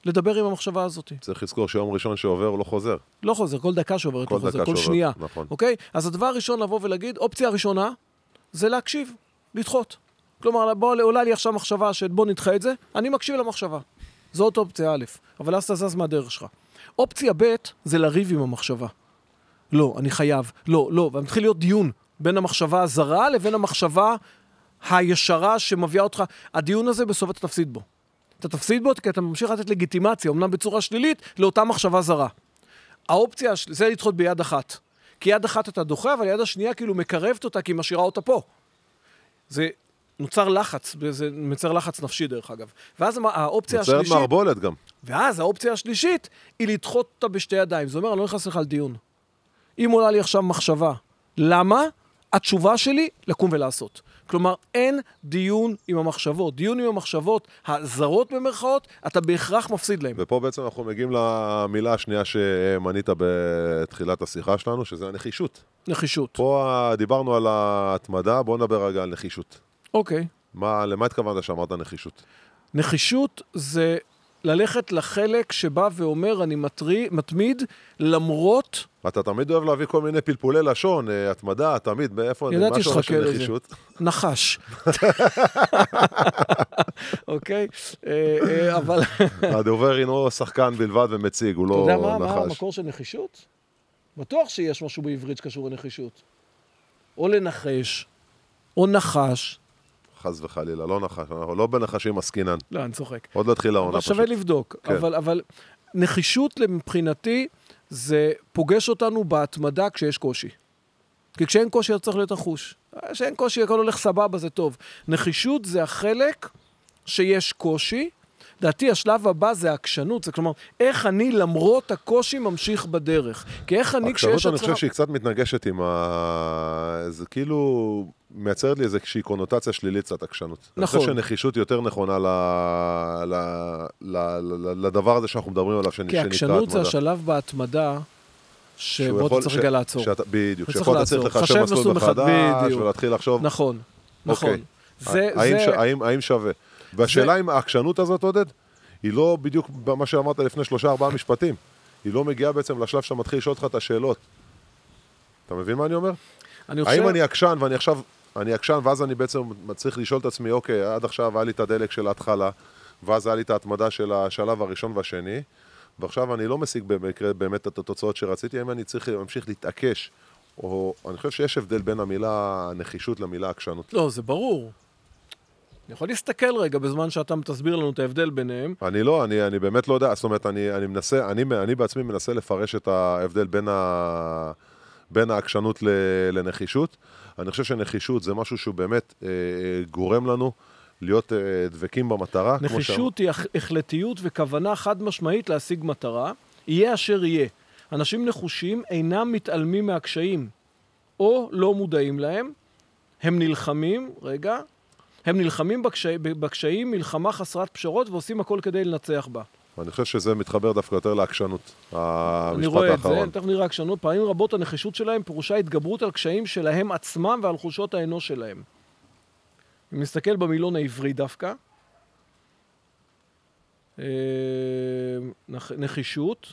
D: לדבר עם המחשבה הזאת.
E: צריך לזכור שיום ראשון שעובר הוא לא חוזר.
D: לא חוזר, כל דקה שעוברת,
E: כל
D: לא חוזר,
E: דקה
D: כל
E: שעוברת,
D: שנייה.
E: נכון.
D: אוקיי? אז הדבר הראשון לבוא ולהגיד, אופציה הראשונה, זה להקשיב, לדחות. כלומר, בוא, עולה לי עכשיו מחשבה של בוא נדחה את זה, אני מקשיב למחשבה. זאת אופציה א', אבל אז אתה זז מהדרך שלך. אופציה ב', זה לריב עם המחשבה. לא, אני חייב, לא, לא, ומתחיל להיות דיון בין המחשבה הזרה לבין המחשבה הישרה שמביאה אותך. הדיון הזה בסוף אתה תפסיד בו. אתה תפסיד בו כי אתה ממשיך לתת לגיטימציה, אמנם בצורה שלילית, לאותה מחשבה זרה. האופציה, הש- זה לדחות ביד אחת. כי יד אחת אתה דוחה, אבל יד השנייה כאילו מקרבת אותה, כי היא משאירה אותה פה. זה נוצר לחץ, זה מצר לחץ נפשי דרך אגב. ואז המ- האופציה
E: נוצרת
D: השלישית...
E: מערבולת גם.
D: ואז האופציה השלישית היא לדחות אותה בשתי ידיים. זה אומר, אני לא נכנס לך לדיון. אם עולה לי עכשיו מחשבה, למה? התשובה שלי, לקום ולעשות. כלומר, אין דיון עם המחשבות. דיון עם המחשבות הזרות במרכאות, אתה בהכרח מפסיד להם.
E: ופה בעצם אנחנו מגיעים למילה השנייה שמנית בתחילת השיחה שלנו, שזה הנחישות.
D: נחישות.
E: פה אה, דיברנו על ההתמדה, בואו נדבר רגע על נחישות.
D: אוקיי.
E: מה, למה התכוונת שאמרת נחישות?
D: נחישות זה ללכת לחלק שבא ואומר, אני מטרי, מתמיד, למרות...
E: אתה תמיד אוהב להביא כל מיני פלפולי לשון, אה, התמדה, תמיד, מאיפה,
D: ידעתי
E: מה שורש
D: שתחכה לזה.
E: נחישות?
D: נחש. אוקיי? אה, אה, אבל...
E: הדובר הינו שחקן בלבד ומציג, הוא
D: אתה
E: לא
D: יודע מה, מה
E: נחש.
D: המקור של נחישות? בטוח שיש משהו בעברית שקשור לנחישות. או לנחש, או נחש.
E: חס וחלילה, לא נחש, אנחנו לא בנחשים עסקינן.
D: לא, אני צוחק.
E: עוד לא התחילה העונה
D: אבל
E: פשוט.
D: שווה לבדוק.
E: כן.
D: אבל, אבל נחישות מבחינתי, זה פוגש אותנו בהתמדה כשיש קושי. כי כשאין קושי אתה צריך להיות נחוש. כשאין קושי הכל הולך סבבה, זה טוב. נחישות זה החלק שיש קושי. דעתי, השלב הבא זה העקשנות, זה כלומר, איך אני למרות הקושי ממשיך בדרך. כי איך אני כשיש
E: עקשנות אני
D: הצלחה...
E: חושב שהיא קצת מתנגשת עם ה... זה כאילו מייצרת לי איזושהי קונוטציה שלילית קצת עקשנות. אני חושב
D: נכון.
E: שנחישות היא יותר נכונה ל... ל... ל... ל... לדבר הזה שאנחנו מדברים עליו, שנ...
D: כי
E: שנקרא
D: עקשנות זה
E: התמדה.
D: השלב בהתמדה,
E: שהוא
D: שבו אתה
E: יכול-
D: צריך
E: ש-
D: רגע לעצור.
E: שאתה- בדיוק,
D: אתה
E: שפה
D: צריך
E: אתה צריך
D: לעצור.
E: לחשב
D: חשב
E: מסלול
D: מסלול מחד-
E: מחדש
D: בדיוק.
E: ולהתחיל לחשוב,
D: נכון, נכון.
E: אוקיי.
D: זה,
E: האם
D: זה...
E: ש- האם- האם שווה. והשאלה אם העקשנות הזאת, עודד, היא לא בדיוק מה שאמרת לפני שלושה ארבעה משפטים. היא לא מגיעה בעצם לשלב שאתה מתחיל לשאול אותך את השאלות. אתה מבין מה אני אומר?
D: אני חושב...
E: האם אני עקשן ואני עכשיו, אני עקשן ואז אני בעצם צריך לשאול את עצמי, אוקיי, עד עכשיו היה לי את הדלק של ההתחלה, ואז היה לי את ההתמדה של השלב הראשון והשני, ועכשיו אני לא משיג במקרה באמת את התוצאות שרציתי, האם אני צריך להמשיך להתעקש, או אני חושב שיש הבדל בין המילה נחישות למילה עקשנות.
D: לא, זה ברור. אני יכול להסתכל רגע בזמן שאתה תסביר לנו את ההבדל ביניהם.
E: אני לא, אני, אני באמת לא יודע, זאת אומרת, אני, אני מנסה, אני, אני בעצמי מנסה לפרש את ההבדל בין, ה, בין העקשנות ל, לנחישות. אני חושב שנחישות זה משהו שהוא באמת אה, גורם לנו להיות אה, דבקים במטרה. כמו שאמר-
D: נחישות היא הח- החלטיות וכוונה חד משמעית להשיג מטרה, יהיה אשר יהיה. אנשים נחושים אינם מתעלמים מהקשיים, או לא מודעים להם, הם נלחמים, רגע, הם נלחמים בקשי, ב- בקשיים מלחמה חסרת פשרות ועושים הכל כדי לנצח בה.
E: אני חושב שזה מתחבר דווקא יותר לעקשנות,
D: אני
E: המשפט
D: רואה את זה,
E: האחרון.
D: תכף נראה עקשנות. פעמים רבות הנחישות שלהם פירושה התגברות על קשיים שלהם עצמם ועל חושות האנוש שלהם. אם נסתכל במילון העברי דווקא, אה, נח- נחישות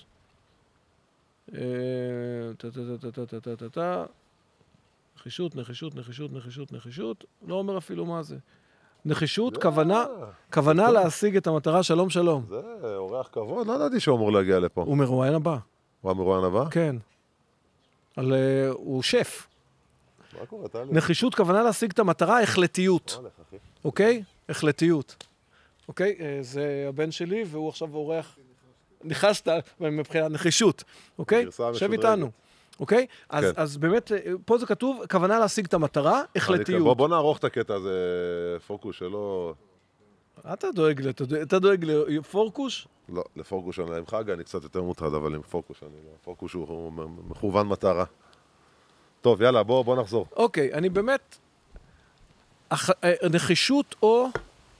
D: אה, טה, טה, טה, טה, טה, טה, טה, טה. נחישות, נחישות, נחישות, נחישות, נחישות, לא אומר אפילו מה זה.
E: אה,
D: נחישות, כוונה, כוונה להשיג את המטרה, שלום שלום.
E: זה אורח כבוד, לא ידעתי שהוא אמור להגיע לפה.
D: הוא מרואיין הבא,
E: הוא המרואיין הבא?
D: כן. על, אה, הוא שף.
E: מה קורה, טלי?
D: נחישות, כוונה להשיג את המטרה, החלטיות,
E: הולך, אחי.
D: אוקיי? החלטיות. אוקיי? אה, זה הבן שלי, והוא עכשיו אורח... נכנסת מבחינת נחישות, אוקיי?
E: הגרסה
D: שב
E: המשודרגת.
D: איתנו, אוקיי? אז,
E: כן.
D: אז באמת, אה, פה זה כתוב, כוונה להשיג את המטרה,
E: אני- בוא-
D: החלטיות.
E: בוא נערוך את הקטע הזה, פוקוס שלא...
D: אתה דואג, ל- אתה דואג- אתה דואג לפורקוש?
E: לא, לפוקוס אני עם חגה, אני קצת יותר מוטרד, אבל עם פוקוס אני לא. פוקוס הוא- הוא מ- מכוון מטרה. טוב, יאללה, בוא בוא נחזור.
D: אוקיי, אני באמת... הח... אה, נחישות או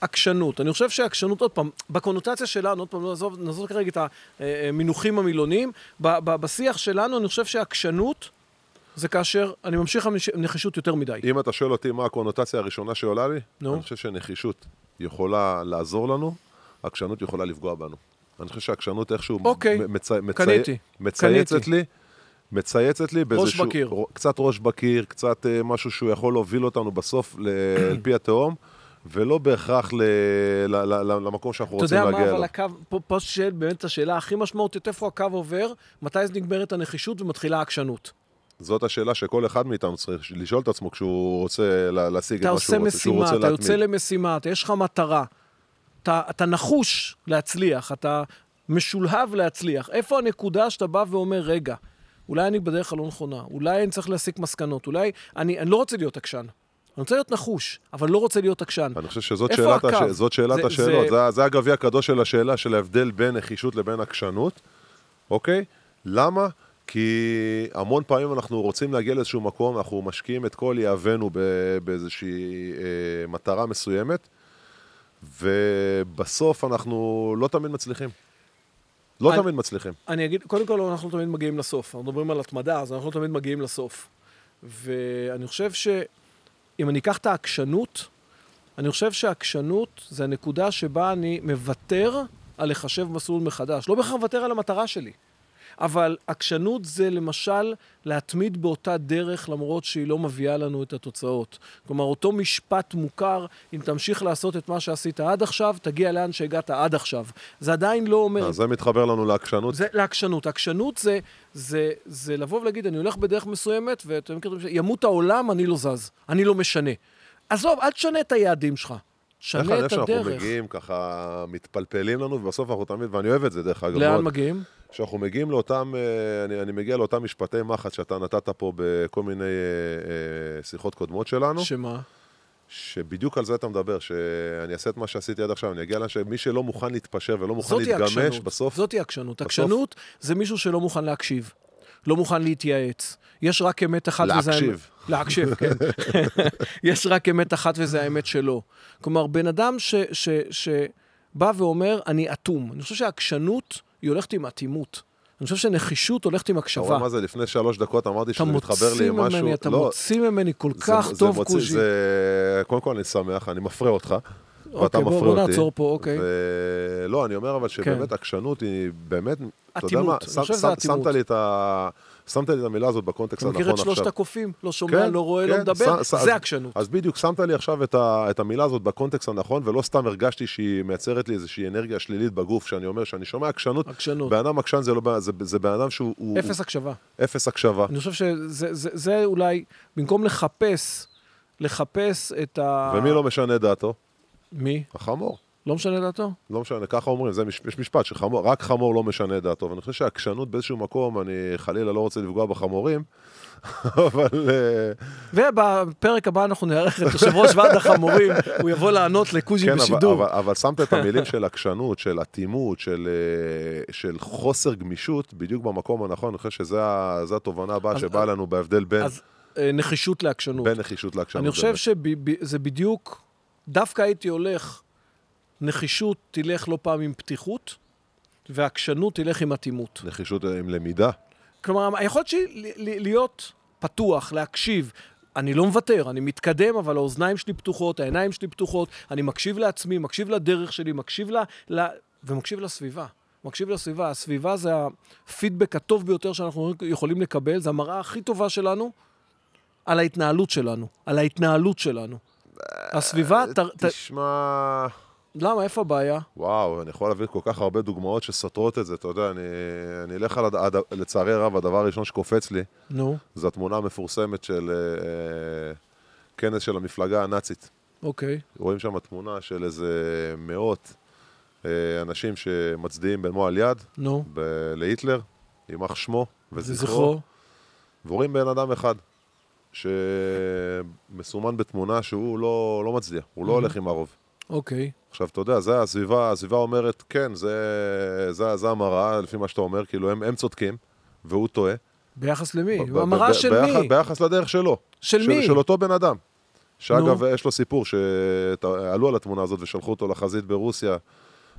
D: עקשנות. אני חושב שעקשנות, עוד פעם, בקונוטציה שלנו, עוד פעם, לא נעזוב, נעזוב כרגע את המינוחים המילוניים, ב- ב- בשיח שלנו אני חושב שעקשנות זה כאשר אני ממשיך עם נש- נחישות יותר מדי.
E: אם אתה שואל אותי מה הקונוטציה הראשונה שעולה לי,
D: נו.
E: אני חושב שנחישות יכולה לעזור לנו, עקשנות יכולה לפגוע בנו. אני חושב שעקשנות איכשהו
D: אוקיי,
E: מ- מצי- מצי-
D: קניתי,
E: מצייצת
D: קניתי.
E: לי, מצייצת לי באיזשהו...
D: בקיר.
E: ר- קצת ראש בקיר, קצת אה, משהו שהוא יכול להוביל אותנו בסוף ל- אל פי התהום, ולא בהכרח ל- ל- ל- ל- למקום שאנחנו
D: אתה
E: רוצים
D: יודע
E: להגיע אליו.
D: מה, אבל הקו, פה, פה שואל באמת השאלה הכי משמעותית, איפה הקו עובר, מתי זה נגמרת הנחישות ומתחילה העקשנות.
E: זאת השאלה שכל אחד מאיתנו צריך לשאול את עצמו כשהוא רוצה לה- להשיג את
D: אתה
E: מה שהוא
D: עושה
E: רוצה, שהוא
D: משימה,
E: רוצה
D: אתה יוצא
E: להתמיד.
D: למשימה, אתה- יש לך מטרה. אתה, אתה נחוש להצליח, אתה משולהב להצליח. איפה הנקודה שאתה בא ואומר, רגע, אולי אני בדרך הלא נכונה, אולי אני צריך להסיק מסקנות, אולי... אני, אני לא רוצה להיות עקשן. אני רוצה להיות נחוש, אבל לא רוצה להיות עקשן.
E: אני חושב שזאת
D: איפה
E: שאלת,
D: הקו?
E: הש... זאת שאלת
D: זה-
E: השאלות,
D: זה-
E: זה, זה הגביע הקדוש של השאלה של ההבדל בין נחישות לבין עקשנות, אוקיי? למה? כי המון פעמים אנחנו רוצים להגיע לאיזשהו מקום, אנחנו משקיעים את כל יהבנו ב- באיזושהי אה, מטרה מסוימת, ובסוף אנחנו לא תמיד מצליחים. לא
D: אני-
E: תמיד מצליחים.
D: אני אגיד, קודם כל, אנחנו לא תמיד מגיעים לסוף. אנחנו מדברים על התמדה, אז אנחנו לא תמיד מגיעים לסוף. ואני חושב שאם אני אקח את העקשנות, אני חושב שהעקשנות זה הנקודה שבה אני מוותר על לחשב מסלול מחדש. לא בהכרח מוותר על המטרה שלי, אבל עקשנות זה למשל להתמיד באותה דרך למרות שהיא לא מביאה לנו את התוצאות. כלומר, אותו משפט מוכר, אם תמשיך לעשות את מה שעשית עד עכשיו, תגיע לאן שהגעת עד עכשיו. זה עדיין לא אומר,
E: אז זה מתחבר לנו לעקשנות.
D: זה לעקשנות. עקשנות זה, זה, זה לבוא ולהגיד, אני הולך בדרך מסוימת, ואתם מכירים, ימות העולם, אני לא זז, אני לא משנה. עזוב, אל תשנה את היעדים שלך.
E: איך
D: תשנה את
E: שאנחנו
D: הדרך.
E: מגיעים, ככה מתפלפלים לנו, ובסוף אנחנו תמיד, ואני אוהב את זה דרך אגב,
D: לאן
E: מאוד.
D: מגיעים?
E: כשאנחנו מגיעים לאותם, אה, אני, אני מגיע לאותם משפטי מחץ שאתה נתת פה בכל מיני אה, אה, שיחות קודמות שלנו, ש...
D: שמה?
E: שבדיוק על זה אתה מדבר, שאני אעשה את מה שעשיתי עד עכשיו, אני אגיע לאן שמי שלא מוכן להתפשר ולא מוכן
D: זאתי
E: להתגמש,
D: עקשנות.
E: בסוף,
D: זאתי עקשנות. עקשנות זה מישהו שלא מוכן להקשיב. לא מוכן להתייעץ. יש רק אמת אחת וזה...
E: להקשיב.
D: להקשיב, כן. יש רק אמת אחת וזה האמת שלו. כלומר, בן אדם ש, ש, שבא ואומר, אני אטום. אני חושב שהעקשנות, היא הולכת עם אטימות. אני חושב שנחישות הולכת עם
E: אתה רואה
D: הקשבה.
E: מה זה, לפני שלוש דקות אמרתי
D: אתה
E: שזה מתחבר לי
D: מוציא
E: עם משהו, לא.
D: ממני, אתה מוציא ממני כל
E: זה-
D: כך
E: זה
D: טוב
E: מוציא-
D: קוז'י.
E: זה... קודם כל אני שמח, אני מפרה אותך. ואתה
D: אוקיי, בוא-
E: מפרה
D: בוא
E: אותי.
D: נעצור פה, אוקיי. כן.
E: ו... לא, אני אומר אבל שבאמת עקשנות היא באמת, אתה יודע
D: אטימות,
E: מה,
D: אני
E: שם-
D: חושב שזה
E: שם-
D: אטימות.
E: שמת לי את ה... שמת לי את המילה הזאת בקונטקסט
D: אתה
E: הנכון
D: מכיר
E: עכשיו. כן,
D: את שלושת הקופים? לא שומע, לא רואה, לא מדבר?
E: ש- ש-
D: זה
E: אז-
D: עקשנות.
E: אז בדיוק, שמת לי עכשיו את, ה, את המילה הזאת בקונטקסט הנכון, ולא סתם הרגשתי שהיא מייצרת לי איזושהי אנרגיה שלילית בגוף, שאני אומר שאני שומע עקשנות.
D: עקשנות.
E: בן אדם עקשן זה לא, בן- זה, זה בן אדם שהוא... הוא-
D: אפס הקשבה.
E: הוא- אפס הקשבה.
D: אני חושב שזה זה, זה אולי, במקום לחפש, לחפש את ה...
E: ומי לא משנה דעתו?
D: מי?
E: החמור.
D: לא משנה דעתו?
E: לא משנה, ככה אומרים, זה מש, יש משפט שחמור, רק חמור לא משנה את דעתו, ואני חושב שהעקשנות באיזשהו מקום, אני חלילה לא רוצה לפגוע בחמורים, אבל אה,
D: ובפרק הבא אנחנו נארח את יושב ראש ועד החמורים, הוא יבוא לענות לקוז'י
E: כן, אבל,
D: בשידור.
E: אבל, אבל שמת את המילים של עקשנות, של אטימות, של, אה, של חוסר גמישות, בדיוק במקום הנכון, אני חושב שזו התובנה הבאה
D: אז-
E: שבאה לנו בהבדל בין,
D: אז אה, נחישות לעקשנות.
E: בין נחישות לעקשנות.
D: אני חושב
E: באמת.
D: שזה בדיוק, דווקא הייתי הולך, נחישות תלך לא פעם עם פתיחות, ועקשנות תלך עם אטימות.
E: נחישות עם למידה.
D: כלומר, היכולת שלי ל- ל- להיות פתוח, להקשיב. אני לא מוותר, אני מתקדם, אבל האוזניים שלי פתוחות, העיניים שלי פתוחות, אני מקשיב לעצמי, מקשיב לדרך שלי, מקשיב ל... ל... ומקשיב לסביבה. מקשיב לסביבה. הסביבה זה הפידבק הטוב ביותר שאנחנו יכולים לקבל, זה המראה הכי טובה שלנו על ההתנהלות שלנו, על ההתנהלות שלנו. הסביבה,
E: אה,
D: ת, ת,
E: תשמע...
D: למה, איפה הבעיה?
E: וואו, אני יכול להביא כל כך הרבה דוגמאות שסותרות את זה, אתה יודע, אני, אני אלך על, הד- הד... לצערי הרב, הדבר הראשון שקופץ לי,
D: נו,
E: זו התמונה המפורסמת של אה, אה, כנס של המפלגה הנאצית.
D: אוקיי.
E: רואים שם תמונה של איזה מאות אה, אנשים שמצדיעים במו על יד
D: נו,
E: ב- להיטלר, יימח שמו
D: זה
E: וזכרו,
D: זכרו.
E: ורואים בן אדם אחד שמסומן בתמונה שהוא לא, לא מצדיע, הוא לא הולך עם הרוב.
D: אוקיי.
E: עכשיו, אתה יודע, זה הסביבה, הסביבה אומרת, כן, זה, זה, זה המראה, לפי מה שאתה אומר, כאילו, הם, הם צודקים, והוא טועה.
D: ביחס למי?
E: ב- ב-
D: המראה
E: ב-
D: של
E: ביחס,
D: מי?
E: ביחס לדרך שלו.
D: של מי?
E: של אותו בן אדם. שאגב,
D: נו.
E: יש לו סיפור שעלו על התמונה הזאת ושלחו אותו לחזית ברוסיה.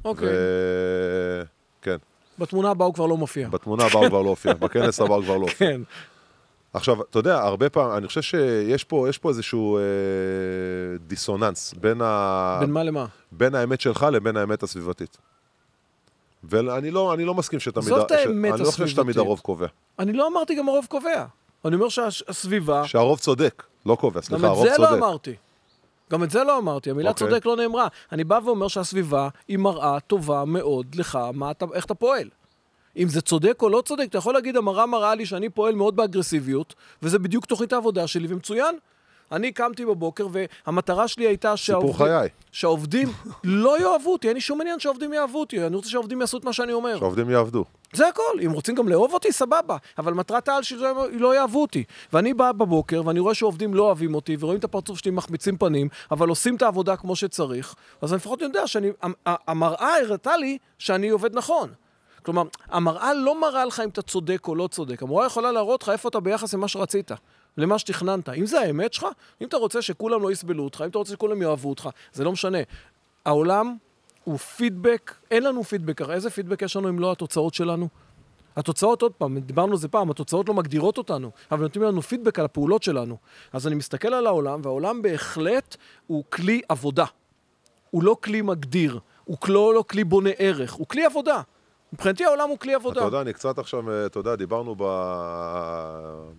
D: אוקיי.
E: ו... כן,
D: בתמונה הבאה הוא כבר לא מופיע.
E: בתמונה הבאה הוא כבר לא הופיע, בכנס הבא הוא כבר לא הופיע.
D: כן.
E: עכשיו, אתה יודע, הרבה פעמים, אני חושב שיש פה, יש פה איזשהו אה, דיסוננס בין, ה...
D: בין מה למה?
E: בין האמת שלך לבין האמת הסביבתית. ואני לא, אני לא מסכים שתמיד...
D: עזוב את
E: ש-
D: האמת
E: אני לא חושב שתמיד
D: הסביבתית.
E: הרוב קובע.
D: אני לא אמרתי גם הרוב קובע. אני אומר שהסביבה,
E: שהרוב צודק, לא קובע,
D: גם
E: סליחה,
D: את
E: הרוב צודק.
D: זה לא אמרתי. גם את זה לא אמרתי, המילה
E: אוקיי.
D: צודק לא נאמרה. אני בא ואומר שהסביבה היא מראה טובה מאוד לך, מה אתה, איך אתה פועל. אם זה צודק או לא צודק, אתה יכול להגיד, המראה מראה לי שאני פועל מאוד באגרסיביות, וזה בדיוק תוכנית העבודה שלי, ומצוין. אני קמתי בבוקר, והמטרה שלי הייתה שהעובדים,
E: חיי.
D: שהעובדים לא יאהבו אותי, אין לי שום עניין שהעובדים יאהבו אותי, אני רוצה שהעובדים יעשו את מה שאני אומר.
E: שהעובדים יעבדו.
D: זה הכל. אם רוצים גם לאהוב אותי, סבבה. אבל מטרת העל שלי היא לא יאהבו אותי. ואני בא בבוקר, ואני רואה שעובדים לא אוהבים אותי, ורואים את הפרצוף שלי מחמיצים פנים, אבל עושים את העבודה כמו שצריך, אז אני לפחות יודע שאני... המ- ה- המראה הראתה לי שאני עובד נכון. כלומר, המראה לא מראה לך אם אתה צודק או לא צודק. המראה יכולה להראות לך איפה אתה ביחס למה שרצית. למה שתכננת. אם זה האמת שלך, אם אתה רוצה שכולם לא יסבלו אותך, אם אתה רוצה שכולם יאהבו אותך, זה לא משנה. העולם הוא פידבק, אין לנו פידבק, הרי איזה פידבק יש לנו אם לא התוצאות שלנו? התוצאות, עוד פעם, דיברנו על זה פעם, התוצאות לא מגדירות אותנו, אבל נותנים לנו פידבק על הפעולות שלנו. אז אני מסתכל על העולם, והעולם בהחלט הוא כלי עבודה. הוא לא כלי מגדיר, הוא לא, לא כלי בונה ערך, הוא כלי עבודה. מבחינתי העולם הוא כלי עבודה.
E: אתה יודע, אני קצת עכשיו, אה, אתה יודע, דיברנו ב...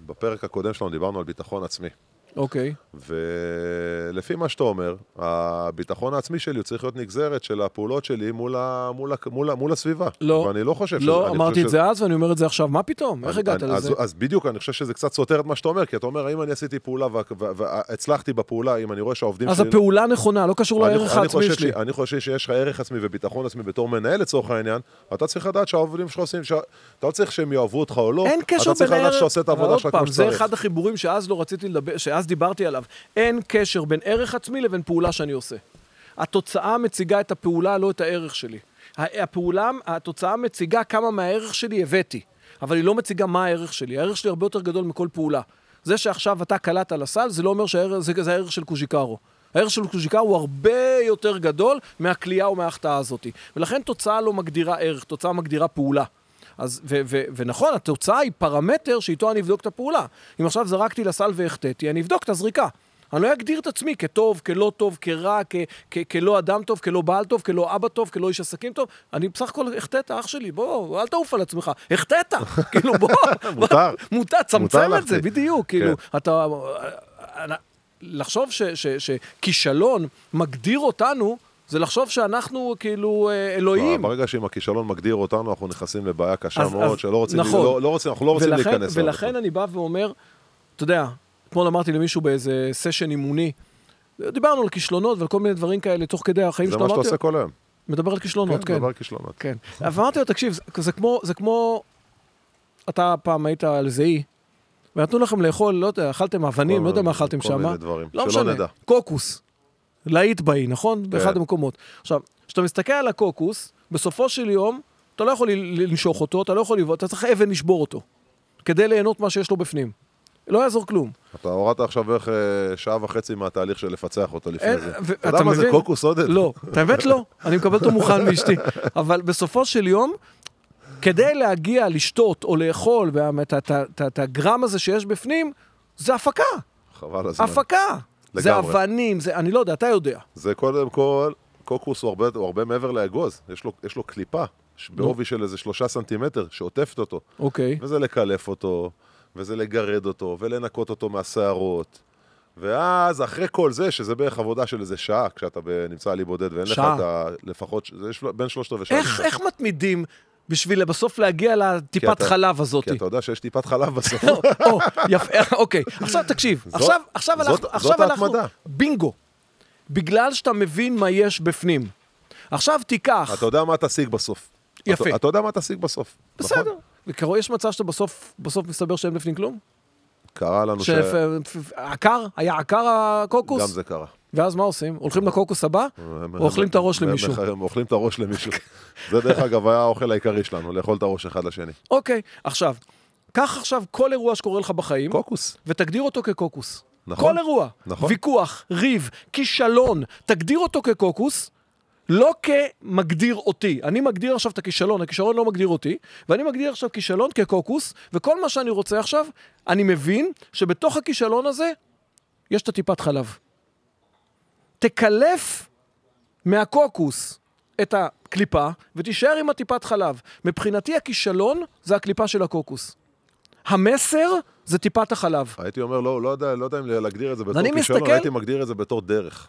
E: בפרק הקודם שלנו, דיברנו על ביטחון עצמי.
D: אוקיי,
E: ולפי מה שאתה אומר, הביטחון העצמי שלי הוא צריך להיות נגזרת של הפעולות שלי מול, ה... מול, ה... מול, ה... מול הסביבה.
D: לא,
E: ואני לא חושב שזה...
D: לא
E: אני
D: אמרתי
E: חושב
D: את זה אז ואני אומר את זה עכשיו, מה פתאום? איך
E: אני-
D: הגעת
E: אני-
D: לזה?
E: אז, אז בדיוק, אני חושב שזה קצת סותר את מה שאתה אומר, כי אתה אומר, האם אני עשיתי פעולה וה- וה- והצלחתי בפעולה, אם אני רואה שהעובדים
D: אז
E: שלי...
D: הפעולה נכונה, לא קשור
E: אני-
D: לערך
E: אני
D: העצמי
E: חושב
D: שלי.
E: ש- אני חושב שיש לך ערך עצמי וביטחון עצמי בתור מנהל לצורך העניין, אתה צריך לדעת שהעובדים שלך עושים, שה- אתה לא צריך שהם יאהבו אותך או לא,
D: אין קשר
E: אתה צריך
D: בין
E: לדעת
D: ערך...
E: שאתה עושה את העבודה שלך
D: עוד
E: כמו
D: פעם, זה
E: שצריך.
D: אחד החיבורים שאז לא רציתי לדבר, שאז דיברתי עליו. אין קשר בין ערך עצמי לבין פעולה שאני עושה. התוצאה מציגה את הפעולה, לא את הערך שלי. ה- הפעולה, התוצאה מציגה כמה מהערך שלי הבאתי, אבל היא לא מציגה מה הערך שלי. הערך שלי הרבה יותר גדול מכל פעולה. זה שעכשיו אתה קלעת לסל, זה לא אומר שזה זה הערך של קוז'יקרו. הערך של קוז'יקרו הוא הרבה יותר גדול מהכלייה או מההחטאה הזאת. ולכן תוצאה לא מגדירה ערך, תוצאה מגדירה פעולה. אז, ו, ו, ונכון, התוצאה היא פרמטר שאיתו אני אבדוק את הפעולה. אם עכשיו זרקתי לסל והחטאתי, אני אבדוק את הזריקה. אני לא אגדיר את עצמי כטוב, כלא טוב, כרע, כ, כ, כלא אדם טוב, כלא בעל טוב, כלא אבא טוב, כלא איש עסקים טוב. אני בסך הכל החטאת, אח שלי, בוא, אל תעוף על עצמך. החטאת, כאילו, בוא.
E: מותר.
D: מותר, צמצם
E: מותר
D: את זה,
E: להחטיא.
D: בדיוק. כאילו,
E: כן.
D: אתה... אה, לחשוב ש- ש- שכישלון מגדיר אותנו, זה לחשוב שאנחנו כאילו אה, אלוהים.
E: ברגע שאם הכישלון מגדיר אותנו, אנחנו נכנסים לבעיה קשה
D: אז-
E: מאוד,
D: אז-
E: שלא רוצים,
D: נכון.
E: לא- לא רוצים- אנחנו לא רוצים
D: ולכן-
E: להיכנס. אליו
D: ולכן
E: בכלל.
D: אני בא ואומר, אתה יודע, אתמול אמרתי למישהו באיזה סשן אימוני, דיברנו על כישלונות ועל כל מיני דברים כאלה תוך כדי החיים
E: זה
D: שלו.
E: מה שאתה
D: אמרתי לו-
E: עושה כל היום.
D: מדבר על כישלונות,
E: כן,
D: כן.
E: דבר כישלונות.
D: כן. אבל אמרתי לו, תקשיב, זה, זה כמו, זה כמו... אתה פעם היית על זה אי, ונתנו לכם לאכול, לא יודע, אכלתם אבנים,
E: כל
D: לא יודע מה
E: מיני-
D: אכלתם
E: כל
D: שם.
E: מיני דברים,
D: לא
E: שלא
D: משנה.
E: נדע. כן.
D: קוקוס. להיט באי, נכון? באחד המקומות. עכשיו, כשאתה מסתכל על הקוקוס, בסופו של יום, אתה לא יכול ל- לנשוך אותו, אתה לא יכול לבעוט, אתה צריך אבן לשבור אותו. כדי ליהנות מה שיש לו בפנים. לא יעזור כלום.
E: אתה הורדת עכשיו איך אה, שעה וחצי מהתהליך של לפצח אותו לפני
D: אין-
E: זה.
D: ו-
E: אתה יודע מה זה
D: מבין?
E: קוקוס עודד?
D: לא, את האמת לא, אני מקבל אותו מוכן מאשתי. אבל בסופו של יום, כדי להגיע לשתות או לאכול, וה- את ה- את ה- את ה- את הגרם הזה שיש בפנים, זה הפקה,
E: חבל הזמן.
D: הפקה. זה
E: לגמרי.
D: אבנים, זה, אני לא יודע, אתה יודע.
E: זה קודם כל, קוקוס הוא הרבה, הוא הרבה מעבר לאגוז, יש לו, יש לו קליפה, ש- בעובי של איזה שלושה סנטימטר, שעוטפת אותו.
D: אוקיי.
E: וזה לקלף אותו, וזה לגרד אותו, ולנקות אותו מהשערות. ואז אחרי כל זה, שזה בערך עבודה של איזה שעה, כשאתה ב- נמצא לי בודד ואין לך
D: שעה.
E: את ה... לפחות, ש- זה יש לו- בין שלושת רבעי שעה.
D: איך, איך מתמידים בשביל בסוף להגיע לטיפת
E: אתה-
D: חלב הזאת?
E: כי אתה יודע שיש טיפת חלב בסוף.
D: או, יפה, אוקיי. עכשיו תקשיב,
E: זאת-
D: עכשיו, עכשיו
E: זאת-
D: אנחנו,
E: זאת
D: עכשיו אנחנו,
E: ההתמדה.
D: בינגו. בגלל שאתה מבין מה יש בפנים. עכשיו תיקח,
E: אתה יודע מה תשיג בסוף.
D: יפה.
E: אתה, אתה יודע מה תשיג בסוף.
D: בסדר.
E: נכון?
D: וכרוא, יש מצב שאתה בסוף, בסוף מסתבר שאין בפנים כלום?
E: קרה לנו לא ש...
D: שעקר, היה עקר הקוקוס?
E: גם זה קרה.
D: ואז מה עושים? הולכים לקוקוס הבא, או אוכלים את הראש
E: הם-
D: למישהו?
E: הם אוכלים את הראש למישהו. זה דרך אגב היה האוכל העיקרי שלנו, לאכול את הראש אחד לשני.
D: אוקיי, עכשיו, קח עכשיו כל אירוע שקורה לך בחיים,
E: קוקוס.
D: ותגדיר אותו כקוקוס.
E: נכון.
D: כל אירוע.
E: נכון.
D: ויכוח, ריב, כישלון, תגדיר אותו כקוקוס, לא כמגדיר אותי. אני מגדיר עכשיו את הכישלון, הכישלון לא מגדיר אותי, ואני מגדיר עכשיו כישלון כקוקוס, וכל מה שאני רוצה עכשיו, אני מבין שבתוך הכישלון הזה יש את הטיפת חלב. תקלף מהקוקוס את הקליפה ותישאר עם הטיפת חלב. מבחינתי הכישלון זה הקליפה של הקוקוס. המסר זה טיפת החלב.
E: הייתי אומר, לא, לא יודע, לא יודע אם להגדיר את זה בתור
D: אני
E: כישלון,
D: מסתכל-
E: הייתי מגדיר את זה בתור דרך.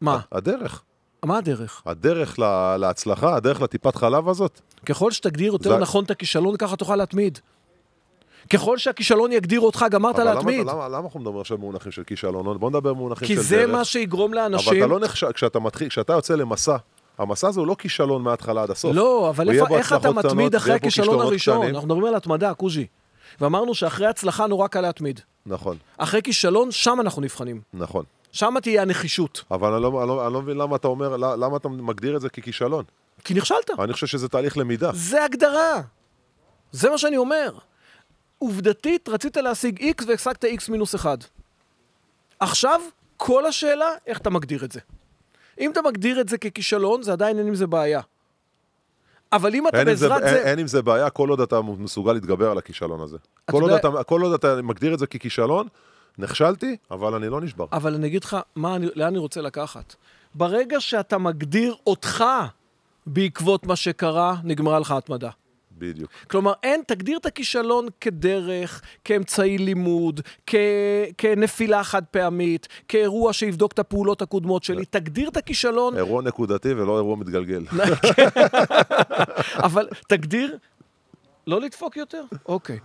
D: מה?
E: הדרך.
D: מה הדרך?
E: הדרך לה, להצלחה, הדרך לטיפת חלב הזאת.
D: ככל שתגדיר יותר
E: זה-
D: נכון את הכישלון, ככה תוכל להתמיד. ככל שהכישלון יגדיר אותך, גמרת
E: אבל למה,
D: להתמיד.
E: למה, למה, למה אנחנו מדברים עכשיו במונחים של כישלון? בוא נדבר במונחים
D: כי
E: של
D: זה
E: דרך.
D: מה שיגרום
E: אבל
D: לאנשים...
E: אתה לא נחשב, כשאתה מתחיל, כשאתה יוצא למסע, המסע הזה הוא לא כישלון מההתחלה עד הסוף.
D: לא, אבל
E: הוא יהיה
D: איפה-
E: בו
D: איך אתה
E: הצלחות קטנות,
D: מתמיד אחרי
E: ויהיה בו
D: הכישלון
E: כישלונות
D: הראשון?
E: קטנים.
D: אנחנו מדברים על התמדה, קוז'י. ואמרנו שאחרי הצלחה נורא קל להתמיד.
E: נכון,
D: אחרי כישלון, שם אנחנו נבחנים.
E: נכון.
D: שם תהיה הנחישות.
E: אבל אני לא, אני, לא, אני לא מבין למה אתה אומר, למה אתה מגדיר את זה ככישלון.
D: כי נכשלת.
E: אני חושב שזה תהליך למידה.
D: זה הגדרה. זה מה שאני אומר. עובדתית, רצית להשיג x והשגת x מינוס 1. עכשיו, כל השאלה, איך אתה מגדיר את זה. אם אתה מגדיר את זה ככישלון, זה עדיין אין עם זה בעיה. אבל אם אתה
E: אין עם, זה,
D: בעזרת
E: אין,
D: זה...
E: אין עם זה בעיה כל עוד אתה מסוגל להתגבר על הכישלון הזה. כל,
D: יודע-
E: יודע... עוד אתה, כל עוד אתה מגדיר את זה ככישלון, נכשלתי, אבל אני לא נשבר.
D: אבל אני אגיד לך מה אני, לאן אני רוצה לקחת. ברגע שאתה מגדיר אותך בעקבות מה שקרה, נגמרה לך התמדה.
E: בדיוק.
D: כלומר, אין, תגדיר את הכישלון כדרך, כאמצעי לימוד, כ... כנפילה חד פעמית, כאירוע שיבדוק את הפעולות הקודמות שלי. תגדיר את הכישלון,
E: אירוע נקודתי ולא אירוע מתגלגל.
D: אבל תגדיר... לא לדפוק יותר? אוקיי.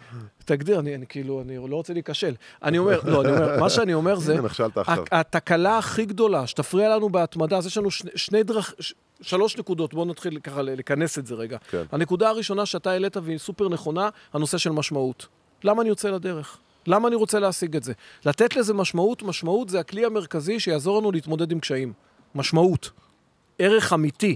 D: תגדיר, אני, אני כאילו, אני לא רוצה להיכשל. אני אומר, לא, אני אומר, מה שאני אומר זה,
E: הנה, נכשלת עכשיו.
D: הת- התקלה הכי גדולה שתפריע לנו בהתמדה, אז יש לנו שני, שני דרך... ש- שלוש נקודות, בואו נתחיל ככה ל- לכנס את זה רגע.
E: כן.
D: הנקודה הראשונה שאתה העלית והיא סופר נכונה, הנושא של משמעות. למה אני יוצא לדרך? למה אני רוצה להשיג את זה? לתת לזה משמעות, משמעות זה הכלי המרכזי שיעזור לנו להתמודד עם קשיים. משמעות. ערך אמיתי.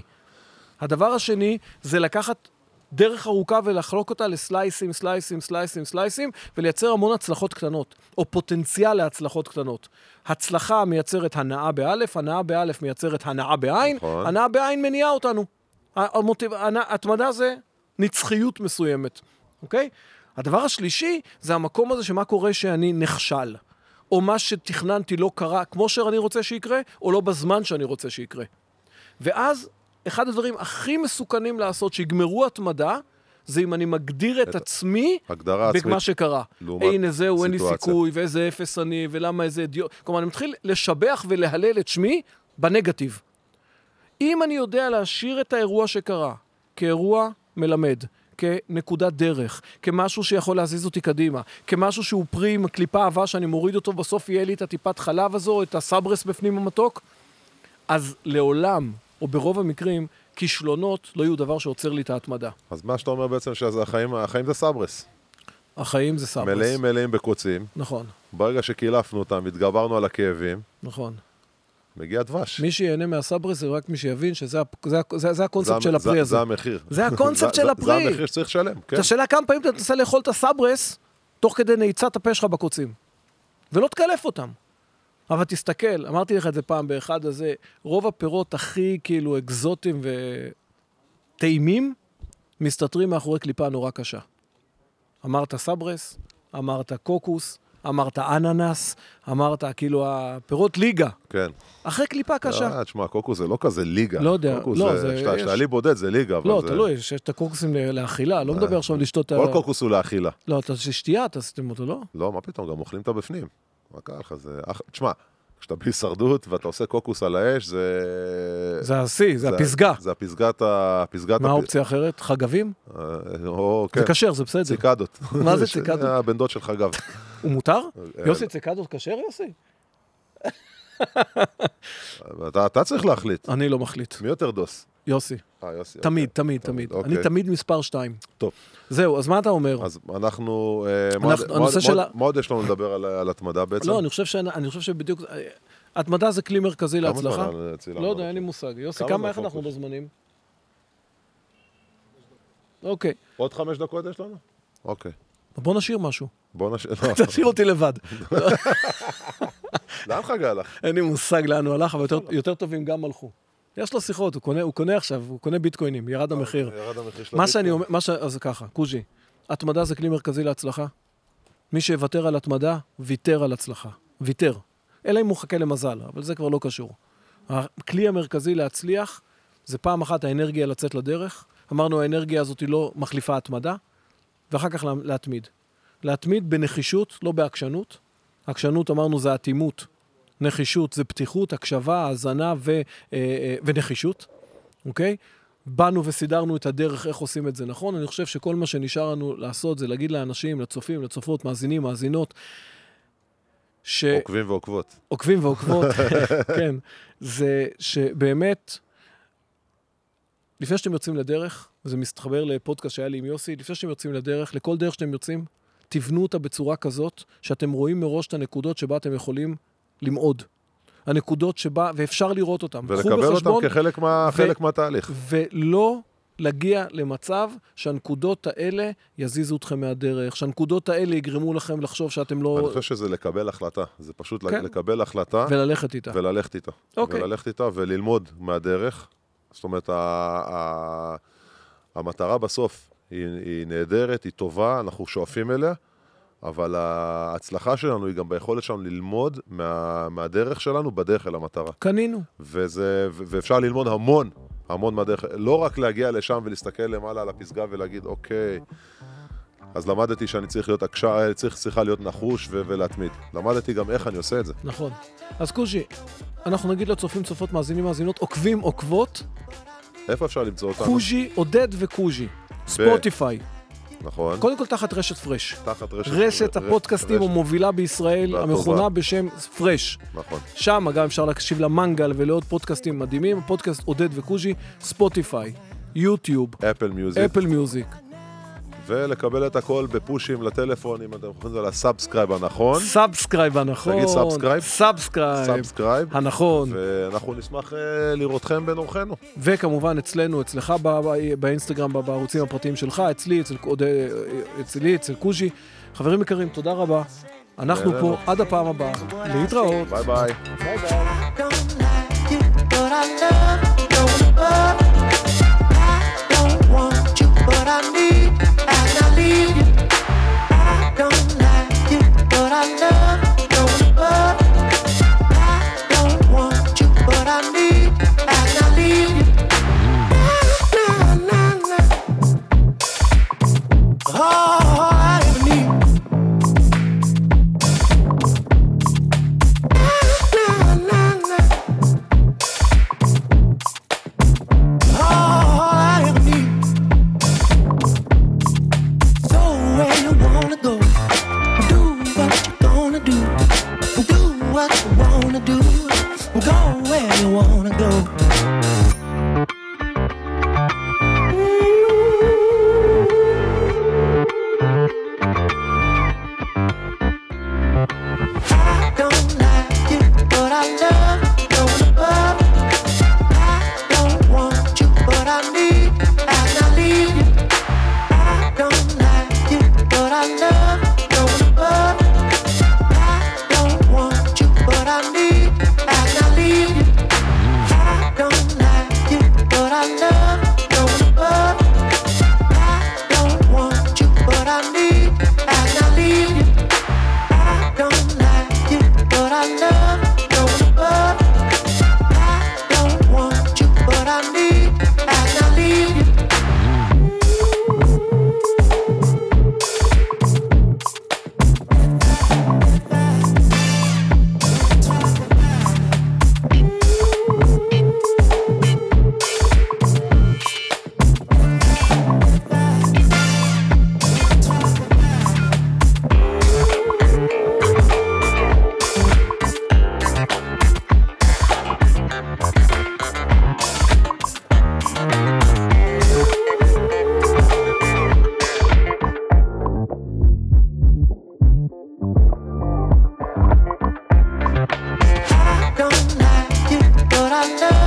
D: הדבר השני זה לקחת דרך ארוכה ולחלוק אותה לסלייסים, סלייסים, סלייסים, סלייסים, ולייצר המון הצלחות קטנות, או פוטנציאל להצלחות קטנות. הצלחה מייצרת הנאה באלף, הנאה באלף מייצרת הנאה בעין,
E: נכון.
D: הנאה בעין מניעה אותנו. ה- המוטיב... הנה- התמדה זה נצחיות מסוימת, אוקיי? הדבר השלישי זה המקום הזה שמה קורה שאני נכשל. או מה שתכננתי לא קרה כמו שאני רוצה שיקרה, או לא בזמן שאני רוצה שיקרה. ואז, אחד הדברים הכי מסוכנים לעשות, שיגמרו התמדה, זה אם אני מגדיר את עצמי
E: הגדרה עצמית.
D: במה שקרה.
E: לעומת
D: הנה זהו, אין לי
E: סיטואציה.
D: סיכוי, ואיזה אפס אני, ולמה איזה אידיוט. כלומר, אני מתחיל לשבח ולהלל את שמי בנגטיב. אם אני יודע להשאיר את האירוע שקרה כאירוע מלמד, כנקודת דרך, כמשהו שיכול להזיז אותי קדימה, כמשהו שהוא פרי עם הקליפה עבה שאני מוריד אותו, בסוף יהיה לי את הטיפת חלב הזו, את הסברס בפנים המתוק, אז לעולם, או ברוב המקרים, כישלונות לא יהיו דבר שעוצר לי את ההתמדה.
E: אז מה שאתה אומר בעצם, שהחיים החיים זה סברס.
D: החיים זה סברס.
E: מלאים מלאים בקוצים.
D: נכון,
E: ברגע שקילפנו אותם, התגברנו על הכאבים,
D: נכון.
E: מגיע דבש.
D: מי שיהנה מהסברס זה רק מי שיבין שזה הפ- זה ה- זה- זה
E: זה המ-
D: הקונספט של
E: זה-
D: הפרי הזה.
E: זה המחיר.
D: זה הקונספט
E: זה-
D: של
E: זה- זה
D: הפרי.
E: המחיר שצריך לשלם, כן.
D: את השאלה כמה פעמים אתה תנסה לאכול את הסברס, תוך כדי נעיצת הפה שלך בקוצים. ולא תקלף אותם. אבל תסתכל, אמרתי לך את זה פעם באחד הזה, רוב הפירות הכי כאילו אקזוטיים וטעימים, מסתתרים מאחורי קליפה נורא קשה. אמרת סברס, אמרת קוקוס, אמרת אננס, אמרת כאילו הפירות ליגה.
E: כן.
D: אחרי קליפה קשה.
E: אה, תשמע, קוקו זה לא כזה ליגה.
D: לא יודע,
E: קוקו
D: לא,
E: זה...
D: זה-
E: כשאתה
D: יש-
E: כשאתה לי בודד זה ליגה, אבל
D: לא,
E: זה... אה,
D: תלוי, יש יש את הקורקסים ל- לאכילה, לא מדבר עכשיו על לשתות...
E: כל
D: ה-
E: קוקוס הוא לאכילה.
D: לא, אתה זה שתייה, אתה עשיתם אותו, לא?
E: לא, מה פתאום, גם אוכלים אותה בפנים. מה קרה לך? זה... אח- תשמע, כשאתה בלי הישרדות ואתה עושה קוקוס על האש, אה, זה...
D: זה השיא, זה הפסגה.
E: זה הפסגת ה... פסגת
D: מה
E: הפ-
D: האופציה האחרת? חגבים?
E: אה, או, כן.
D: זה כשר, זה בסדר.
E: ציקדות.
D: מה זה ציקדות?
E: הבן דוד שלך, אגב.
D: הוא מותר?
E: אה,
D: יוסי ציקדות כשר, יוסי?
E: אתה- אתה צריך להחליט.
D: אני לא מחליט.
E: מי יותר דוס?
D: יוסי.
E: אה, יוסי.
D: תמיד,
E: אוקיי.
D: תמיד, תמיד.
E: אוקיי.
D: אני תמיד מספר שתיים.
E: טוב.
D: זהו, אז מה אתה אומר?
E: אז אנחנו... אה, מה עוד-
D: אנחנו-
E: מה עוד-
D: הנושא של
E: מה עוד-
D: ה-
E: מה עוד יש לנו לדבר על- על התמדה בעצם?
D: לא, אני חושב שאני- אני חושב שבדיוק... אה, התמדה זה כלי מרכזי
E: כמה
D: להצלחה.
E: זמן, אה, צילמנו?
D: לא יודע, אין לי מושג. יוסי,
E: כמה זה
D: כמה, איך
E: הפוקוס?
D: אנחנו בזמנים? אוקיי.
E: עוד חמש דקות יש לנו? אוקיי.
D: בוא נשאיר משהו.
E: בוא לא, נשאיר...
D: תשאיר אותי לבד.
E: לאן חגי הלך?
D: אין לי מושג לאן הוא הלך, אבל
E: לא,
D: יותר- יותר טובים גם הלכו. יש לו שיחות, הוא קונה- הוא קונה עכשיו, הוא קונה ביטקוינים, ירד המחיר.
E: אה, ירד המחיר של
D: מה
E: הביטקוין.
D: שאני אומר, מה ש... אז ככה, קוז'י, התמדה זה כלי מרכזי להצלחה. מי שיוותר על התמדה, ויתר על הצלחה. ויתר. אלא אם הוא חכה למזל, אבל זה כבר לא קשור. הכלי המרכזי להצליח זה פעם אחת האנרגיה לצאת לדרך. אמרנו, האנרגיה הזאת היא לא מחליפה התמדה, ואחר כך לה- להתמיד. להתמיד בנחישות, לא בעקשנות. עקשנות, אמרנו, זה אטימות. נחישות זה פתיחות, הקשבה, האזנה ו, אה, אה, ונחישות. אוקיי? באנו וסידרנו את הדרך איך עושים את זה נכון. אני חושב שכל מה שנשאר לנו לעשות זה להגיד לאנשים, לצופים, לצופות, מאזינים, מאזינות, שעוקבים
E: עוקבים ועוקבות.
D: ועוקבות, כן, זה שבאמת, לפני שאתם יוצאים לדרך, וזה מתחבר לפודקאסט שהיה לי עם יוסי, לפני שאתם יוצאים לדרך, לכל דרך שאתם יוצאים, תבנו אותה בצורה כזאת, שאתם רואים מראש את הנקודות שבה אתם יכולים למעוד. הנקודות שבה, ואפשר לראות אותן. קחו
E: ולקבל אותם
D: בחשבון-
E: כחלק מה-
D: ו-
E: חלק מהתהליך.
D: ולא להגיע למצב שהנקודות האלה יזיזו אתכם מהדרך, שהנקודות האלה יגרמו לכם לחשוב שאתם
E: אני
D: לא...
E: חושב שזה לקבל החלטה. זה פשוט
D: כן.
E: לקבל החלטה
D: וללכת איתה.
E: וללכת איתה.
D: אוקיי.
E: וללכת איתה וללמוד מהדרך. זאת אומרת, ה- ה- המטרה בסוף היא היא נהדרת, היא טובה, אנחנו שואפים אליה, אבל ההצלחה שלנו היא גם ביכולת שלנו ללמוד מה- מהדרך שלנו בדרך אל המטרה.
D: קנינו.
E: וזה, ו- ואפשר ללמוד המון, המון מהדרך, לא רק להגיע לשם ולהסתכל למעלה על הפסגה ולהגיד, אוקיי, אז למדתי שאני צריך להיות עקשה, צריך, צריכה להיות נחוש ו- ולהתמיד. למדתי גם איך אני עושה את זה.
D: נכון. אז קוז'י, אנחנו נגיד לצופים, צופות, מאזינים, מאזינות, עוקבים, עוקבות,
E: איפה אפשר למצוא אותנו?
D: קוז'י, עודד וקוז'י. ספוטיפיי.
E: נכון.
D: קודם כל תחת רשת פרש.
E: תחת רשת...
D: רשת
E: ר-
D: הפודקאסטים
E: רשת-
D: המובילה בישראל,
E: והטובה.
D: המכונה בשם פרש.
E: נכון.
D: שם גם אפשר להקשיב למנגל ולעוד פודקאסטים מדהימים, הפודקאסט עודד וקוז'י, ספוטיפיי, יוטיוב,
E: אפל מיוזיק.
D: אפל מיוזיק,
E: נכון. ולקבל את הכל בפושים לטלפון, אם אתם חושבים על הסאבסקרייב הנכון.
D: סאבסקרייב הנכון.
E: תגיד סאבסקרייב?
D: סאבסקרייב.
E: סאבסקרייב.
D: הנכון. ו...
E: ואנחנו נשמח אה, לראותכם בין אורחנו.
D: וכמובן אצלנו, אצלך ב- ב- באינסטגרם, ב- בערוצים הפרטיים שלך, אצלי, אצל, עוד, אצלי, אצל קוז'י. חברים יקרים, תודה רבה. אנחנו
E: בינינו.
D: פה עד הפעם הבאה. להתראות.
E: ביי ביי.
F: don't like you, but I love you above. I don't want you, but I need as I leave you. I don't like you, but I love you above. I don't want you, but I need as I leave you. Na, na, na, na. Oh, I need. Na, na, na, na. All I ever need. So don't like you, but I love